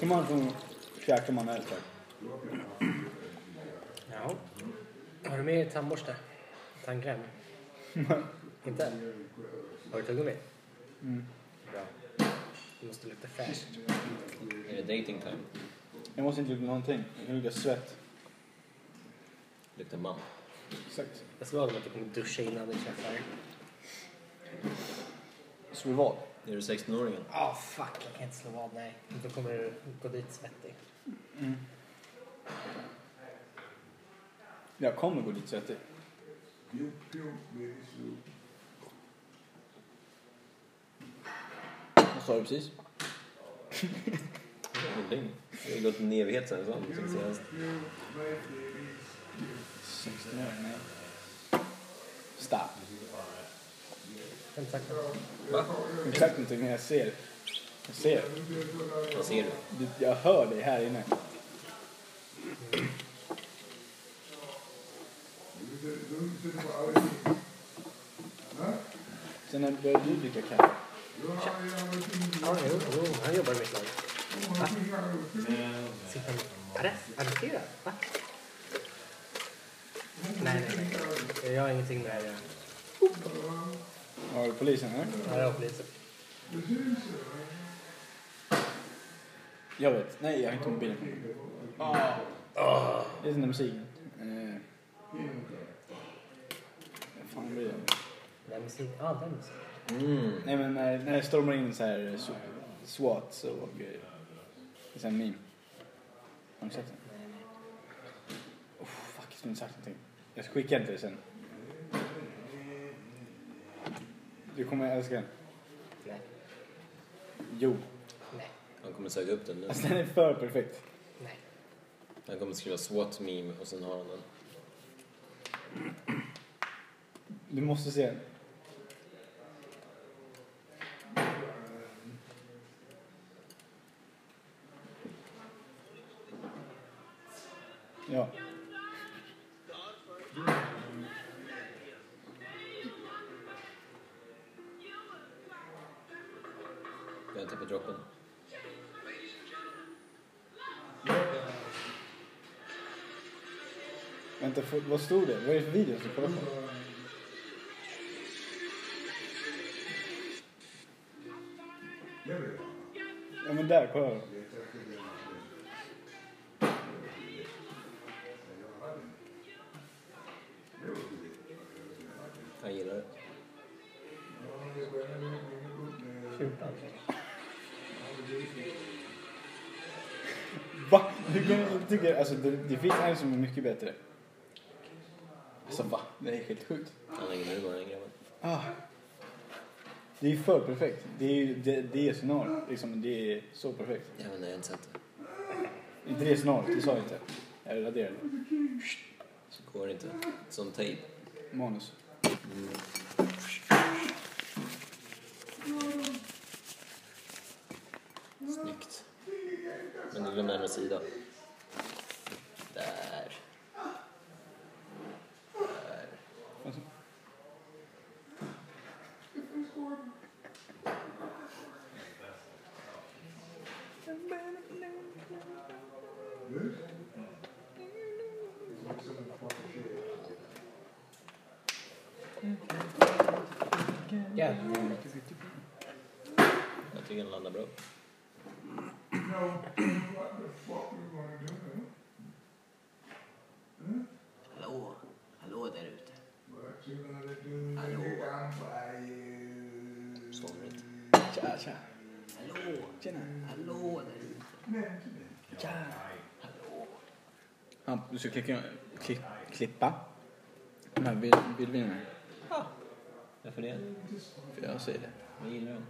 Speaker 3: Kan man från käkar man öl för?
Speaker 2: Ja. Har du med dig tandborste? Tandkräm? Inte? Har du tuggummi? Mm. Bra. Det måste lukta fräscht.
Speaker 1: Är det dating time?
Speaker 3: Jag måste inte lukta någonting. Jag kan lukta svett.
Speaker 1: Luktar man.
Speaker 3: Exakt.
Speaker 2: Jag svarade att du kommer duscha innan du träffar.
Speaker 3: Så vi vad?
Speaker 1: Är du 16-åringen?
Speaker 2: Ah fuck, jag kan inte slå vad. Nej. Då kommer du gå dit svettig.
Speaker 3: Jag kommer gå dit svettig. Vad sa du precis?
Speaker 1: Ingenting. Det har gått en evighet sedan jag sa det senast.
Speaker 3: Stop.
Speaker 2: Fem sekunder.
Speaker 3: Exakt inte men jag ser. Jag ser.
Speaker 1: Vad ser du?
Speaker 3: Du- Jag hör dig här inne. Sen när började du dricka kaffe?
Speaker 2: Ja, jo, jo, han jobbar i mitt lag. Va? Sitter han arre- arresterad? Va? Nej, nej, nej. Jag har ingenting med det här att göra.
Speaker 3: Var det polisen eller?
Speaker 2: Ja, jag har polisen.
Speaker 3: Jag vet. Nej, jag har inte mobilen. Det är den där musiken. Ah. Eh. Vad fan blir det?
Speaker 2: Den musiken. Ja, den musiken.
Speaker 3: Nej men eh, när, när det stormar in så här s- SWAT och grejer. Det är en meme. Har du sett den? Oh, fuck, jag skulle inte sagt någonting. Jag ska skicka den till dig sen. Du kommer älska den.
Speaker 2: Nej,
Speaker 3: Jo.
Speaker 2: nej,
Speaker 1: Han kommer söka upp den nu.
Speaker 3: Alltså den är för perfekt.
Speaker 2: nej.
Speaker 1: Han kommer skriva SWAT meme och sen har han den.
Speaker 3: Du måste se den. Ja.
Speaker 1: Jag har tappat droppen.
Speaker 3: Vänta, för, vad stod det? Vad är det för video som kollar på? Ja men där, kolla då.
Speaker 1: Han gillar det.
Speaker 2: 14.
Speaker 3: Va? Hur kan du inte tycka... Alltså det, det finns en som är mycket bättre. Alltså va? Det är helt sjukt.
Speaker 1: Han har ingen humor den grabben.
Speaker 3: Ah. Det är ju för perfekt. Det är ju det, det är scenariot. Liksom, det är så perfekt.
Speaker 1: Jag vet inte, jag har inte sett det.
Speaker 3: Inte det scenariot, det sa jag inte. Jag raderade
Speaker 1: Så går det inte. Som tejp.
Speaker 3: manus.
Speaker 1: Snyggt. Men du glömde en sida. Där.
Speaker 2: Ja.
Speaker 1: Jag tycker den landar bra. Hallå? Hallå där ute. Hallå. Somligt.
Speaker 3: Tja, tja. Tjena.
Speaker 1: Hallå där ute.
Speaker 3: Ja, du ska klicka, klick, klippa de här bild, bildvinjerna.
Speaker 1: Varför det?
Speaker 3: För jag säger det.
Speaker 1: Jag gillar dem.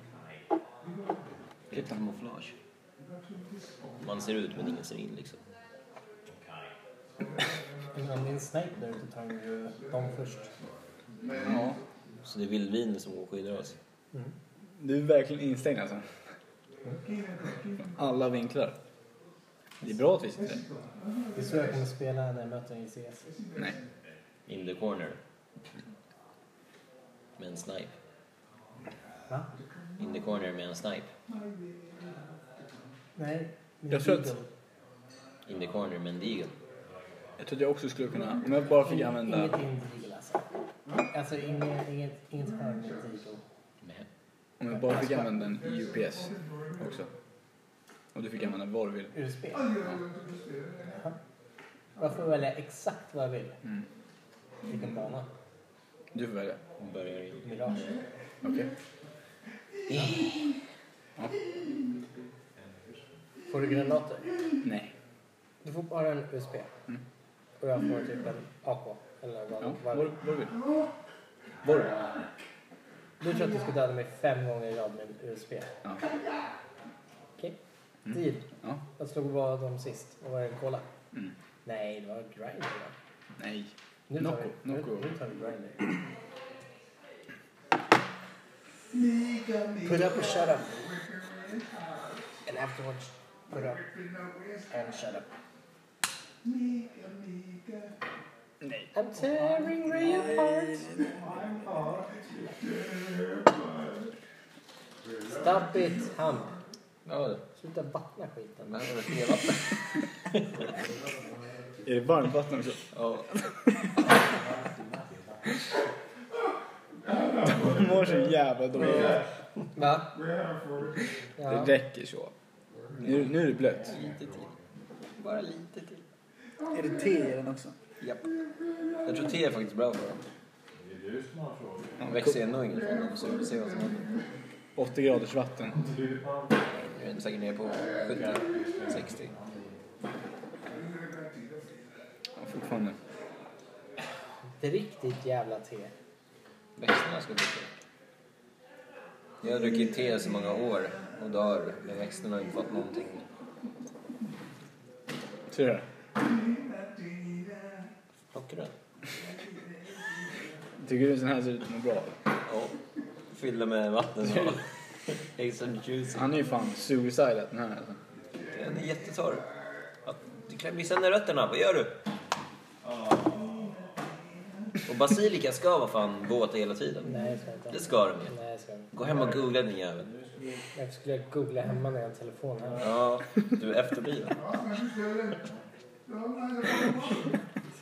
Speaker 1: Det är ett kamouflage. Man ser ut men ingen ser in liksom.
Speaker 2: Men om det är en sniper där ute tar han ju dem först.
Speaker 3: Ja.
Speaker 1: Så det är vildvin som skyddar oss.
Speaker 3: Du är verkligen instängd alltså. Alla vinklar. Det är bra att vi sitter där.
Speaker 2: Det är så jag kommer spela när jag möter en i CS.
Speaker 3: Nej.
Speaker 1: In the corner. Med en snipe.
Speaker 2: Va?
Speaker 1: In the corner med en snipe.
Speaker 2: Nej. med
Speaker 3: Jag tror att-
Speaker 2: Deagle.
Speaker 1: In the corner med en deagle.
Speaker 3: Jag trodde jag också skulle kunna, om jag bara fick
Speaker 2: In-
Speaker 3: använda...
Speaker 2: Inget indigel alltså. Alltså inget, inget, inget hörn med digel.
Speaker 1: Med.
Speaker 3: Om jag bara fick använda en UPS också. Och du fick använda vad du vill.
Speaker 2: USB. Jaha. Jag får välja exakt vad jag vill.
Speaker 3: Mm.
Speaker 2: Vilken bana.
Speaker 3: Du får välja.
Speaker 1: Börjar igen.
Speaker 2: Mirage.
Speaker 3: Okej.
Speaker 2: Får du granater?
Speaker 3: Nej.
Speaker 2: Du får bara en USB. Och jag får typ en AK. Eller vad,
Speaker 3: Mm. Ja, vad
Speaker 2: vad
Speaker 3: du vad du vill. Vad du vill.
Speaker 2: Du tror att du ska döda mig fem gånger i rad med en USB.
Speaker 3: Ja. Mm.
Speaker 2: Okej. Deal.
Speaker 3: Ja.
Speaker 2: Jag slog bara dem sist. Och var det en cola?
Speaker 3: Mm.
Speaker 2: Nej, det var grinder. va?
Speaker 3: Nej.
Speaker 2: Nu tar
Speaker 3: Nocco,
Speaker 2: vi, nu,
Speaker 3: Nocco.
Speaker 2: nu tar vi grinder. Put up or shut up. And afterwards, put up and shut up. I'm tearing Ray apart. Stop it, Hamp.
Speaker 1: Ja, det.
Speaker 2: Sluta vattna skiten.
Speaker 1: Men det var fel vatten.
Speaker 3: Är det varmt vatten också?
Speaker 1: Ja.
Speaker 3: De mår så jävla dåligt.
Speaker 2: Va?
Speaker 3: Det
Speaker 2: Ja.
Speaker 3: räcker så. Nu, nu är det blött.
Speaker 1: Lite till. Bara lite till.
Speaker 3: Är det te i den också?
Speaker 1: Japp. Jag tror te är faktiskt bra för dem. De växer ändå inget från dem så vi får se vad som händer.
Speaker 3: 80 graders vatten.
Speaker 1: Nu är de säkert nere på 70, 60.
Speaker 3: Ja, fortfarande.
Speaker 2: Drick ditt jävla te.
Speaker 1: Växterna ska dricka. Jag har druckit te i så många år och dör, men växterna har inte fått någonting.
Speaker 3: Ser du det? här?
Speaker 1: Plockar du den?
Speaker 3: Tycker du en sån här ser ut att må bra?
Speaker 1: Ja. Fyller med vatten och extra juicy.
Speaker 3: Han är ju fan suicidad den här alltså.
Speaker 1: Den är jättetorr. Ja, Du klämmer ju sönder rötterna, vad gör du? Och basilika ska vara fan våta hela tiden.
Speaker 2: Nej, jag ska inte.
Speaker 1: Det ska de ju.
Speaker 2: Nej, jag ska inte.
Speaker 1: Gå hem och googla din jävel.
Speaker 2: Varför skulle jag googla hemma när jag har en telefon här?
Speaker 1: Ja, du är efterbliven.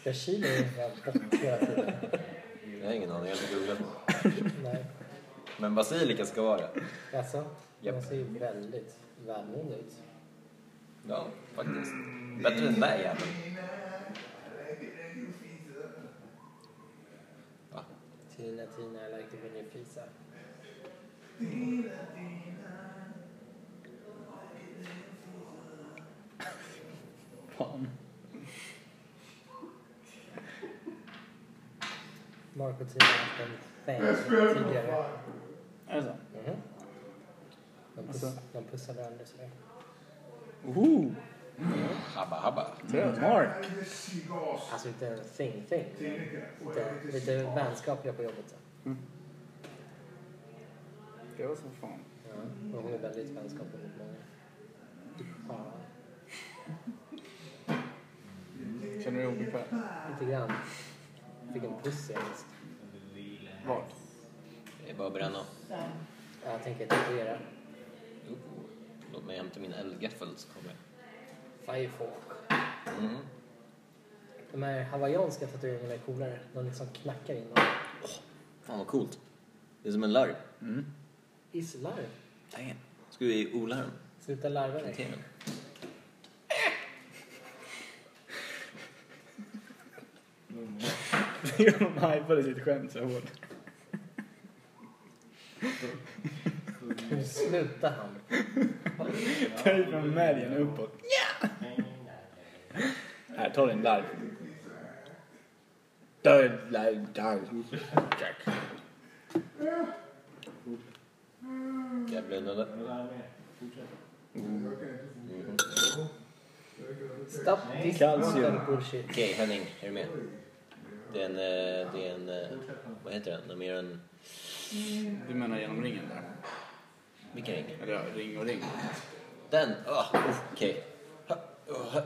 Speaker 2: Ska jag kila i den här bort hela tiden?
Speaker 1: Jag har ingen aning, jag har inte googlat.
Speaker 2: Nej.
Speaker 1: Men basilika ska vara det.
Speaker 2: Jaså? De
Speaker 1: Japp.
Speaker 2: ser ju väldigt välmående ut.
Speaker 1: Ja, faktiskt. Bättre än den där jäveln.
Speaker 2: Tina, Tina, I like to win your pizza.
Speaker 3: Fan.
Speaker 2: Mark och Tina har haft en thing tidigare.
Speaker 3: Är det så?
Speaker 2: Mhm. De, puss, de pussar varandra sådär.
Speaker 3: Ooh,
Speaker 1: Habba habba.
Speaker 3: trött. Mark!
Speaker 2: Alltså inte en thing thing. Lite, lite vänskapliga på jobbet. Så.
Speaker 3: Det var som fan.
Speaker 2: Ja. Och hon är väldigt vänskaplig mot många. Ja.
Speaker 3: Känner du dig obekväm?
Speaker 2: Lite grann. Fick en puss senast.
Speaker 3: Vart?
Speaker 1: Det är bara att bränna.
Speaker 2: Ja, Jag tänker tatuera.
Speaker 1: Oh, Låt mig hämta min eldgaffel så kommer jag.
Speaker 2: Firefalk.
Speaker 1: Mm.
Speaker 2: De här hawaiianska tatueringarna är coolare. De liksom knackar in.
Speaker 1: Fan vad coolt. Det är som en larv.
Speaker 2: Islarv.
Speaker 1: Damn. Ska vi odla den?
Speaker 2: Sluta larva dig.
Speaker 1: Plantera den?
Speaker 3: De hypade sitt skämt så hårt.
Speaker 2: Sluta han.
Speaker 10: Ta ut från märgen uppåt. Här, ta din larv. Ta en larv, larv.
Speaker 1: Jävlar, den där.
Speaker 2: Stop this
Speaker 10: Calcium.
Speaker 2: fucking bullshit.
Speaker 1: Okej, Henning, är du med? Det är en... eh, Det är en eh, vad heter den? De är en...
Speaker 3: Du menar genom ringen där?
Speaker 1: Vilken ring?
Speaker 3: Eller ja, ring och ring.
Speaker 1: Den! Ah, uff, Okej. Ha, oh, ha.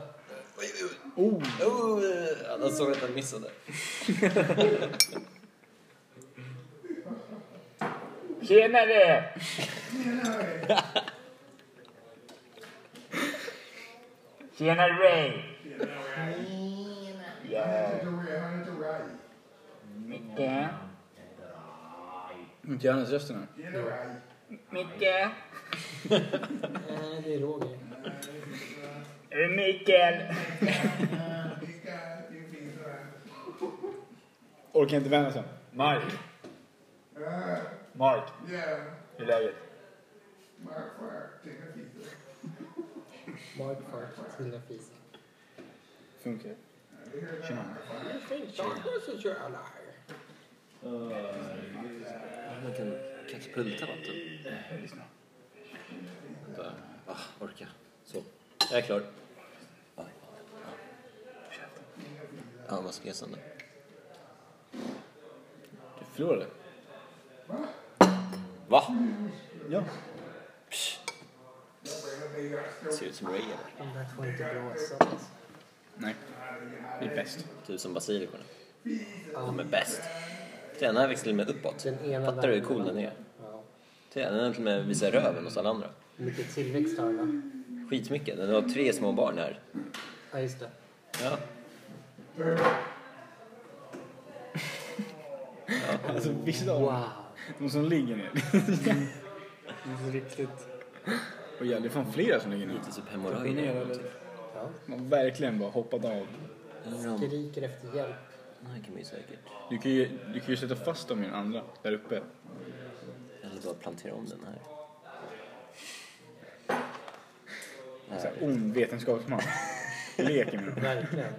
Speaker 1: Oj, oj, oj. Oh, eh, Alla såg att han missade.
Speaker 3: Tjenare! Tjena Ray! Micke? Inte Johannes-rösten här. Micke?
Speaker 2: Nej, det är Roger.
Speaker 3: Är det Mikael?
Speaker 10: Orkar inte vända sig.
Speaker 3: Mark? Mark,
Speaker 11: Yeah,
Speaker 3: hur är läget?
Speaker 11: Mark Clark, take a pizza.
Speaker 2: Mark Fart, Tilda Fis.
Speaker 10: Funkar.
Speaker 1: Man kan kanske pulta vatten. Lyssna. Ah, orka. Så. Jag är klar. Ja, ah, vad ska jag sen då?
Speaker 3: Du förlorade.
Speaker 1: Va?
Speaker 10: Ja.
Speaker 1: Ser ut som Ray eller?
Speaker 2: De där får inte blåsa. alltså.
Speaker 3: Nej, vi är bäst.
Speaker 1: Ser ut som basilikorna. De är bäst. Den ena växlar med uppåt.
Speaker 2: Den ena
Speaker 1: Fattar du hur cool den är?
Speaker 2: Ja.
Speaker 1: Den ena till och med visar röven hos alla andra.
Speaker 2: Hur mycket tillväxt har den?
Speaker 1: Skitmycket. Den har tre små barn här.
Speaker 2: Ja, just det.
Speaker 1: Ja.
Speaker 10: Alltså vissa av
Speaker 2: Wow.
Speaker 10: de som ligger ner.
Speaker 2: Riktigt.
Speaker 10: Och ja, det är fan flera som ligger ner.
Speaker 1: Lite typ hemorrojder eller någonting.
Speaker 2: Ja.
Speaker 10: Man verkligen bara hoppat av.
Speaker 1: Undrar om...
Speaker 2: Skriker efter hjälp.
Speaker 1: Nej, kan man ju säkert.
Speaker 3: Du kan ju, du kan ju sätta fast dem i den andra, där uppe.
Speaker 1: Eller bara plantera om den här.
Speaker 3: Så här, ond vetenskapsman. Leker med dem.
Speaker 2: Verkligen.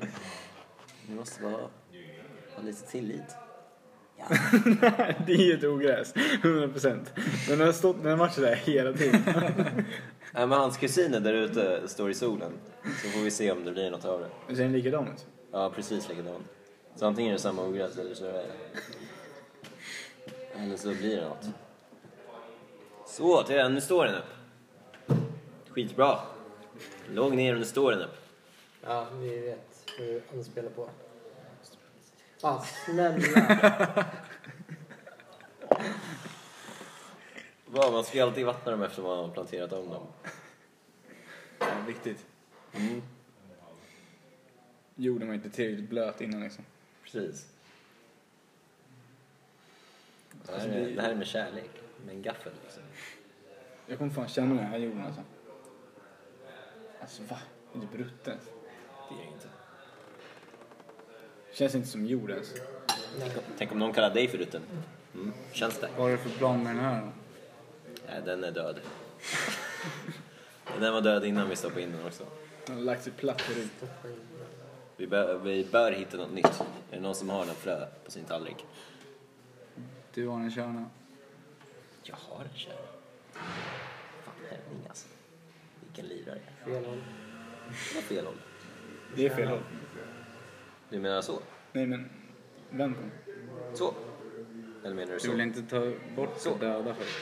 Speaker 1: Vi måste bara ha lite tillit.
Speaker 3: Det är ju ett ogräs, 100%. Den har stått den har varit sådär hela tiden.
Speaker 1: Nej, men hans kusiner där ute står i solen. Så får vi se om det blir något av det.
Speaker 3: Och Ser den likadan ut?
Speaker 1: Ja, precis likadan. Så antingen är det samma ogräs eller så är det... Eller så blir det något. Så, titta nu står den upp. Skitbra. Låg ner och nu står den upp.
Speaker 2: Ja, vi vet vad du anspelar på. Ah, snälla.
Speaker 1: Va, man ska ju alltid vattna dem efter man har planterat om dem.
Speaker 3: Ja, viktigt.
Speaker 1: Mm,
Speaker 3: Jorden var inte tillräckligt blöt innan liksom.
Speaker 1: precis. Det här, är, det här är med kärlek. Med en gaffel liksom.
Speaker 3: Jag kommer fan känna den här jorden alltså. Alltså va? Är det brutten?
Speaker 1: Det är det inte.
Speaker 3: Känns inte som jord ens.
Speaker 1: Tänk om någon kallar dig för rutten. Mm. Känns det?
Speaker 3: Vad är det för plan med den här då?
Speaker 1: Nej, den är död. den var död innan vi stoppade in den också.
Speaker 3: Den har lagt sig platt förut.
Speaker 1: Vi bör, vi bör hitta något nytt. Är det någon som har något frö på sin tallrik?
Speaker 3: Du har en kärna.
Speaker 1: Jag har en kärna. Fan, Henning alltså. Vilken lirare.
Speaker 2: Fel håll.
Speaker 1: Det var fel håll.
Speaker 3: Det är fel håll.
Speaker 1: Du menar så?
Speaker 3: Nej men, vänd på den.
Speaker 1: Så? Eller menar du
Speaker 3: Du vill
Speaker 1: så?
Speaker 3: inte ta bort så döda först.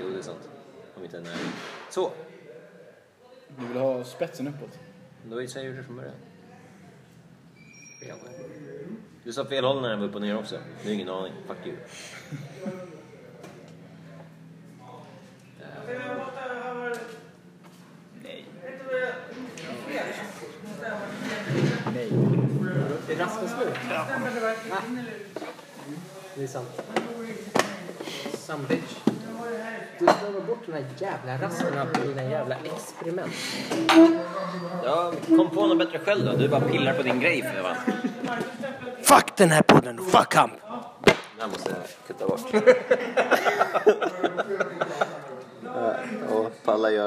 Speaker 1: Jo, det är sant. Om inte den är... Så!
Speaker 3: Du vill ha spetsen uppåt.
Speaker 1: Då säger du det från början. Fel håll. Du sa fel håll när den var upp och ner också. Du har ingen aning. Fuck you.
Speaker 2: Det raskas nu. Va? Det är sant. Some bitch. Du slarvar bort de här jävla raskorna på dina jävla experiment.
Speaker 1: Ja, kom på något bättre själv då. Du bara pillar på din grej för fan.
Speaker 12: Fuck den här podden, fuck kamp!
Speaker 1: Den här måste jag kutta bort. och Palla gör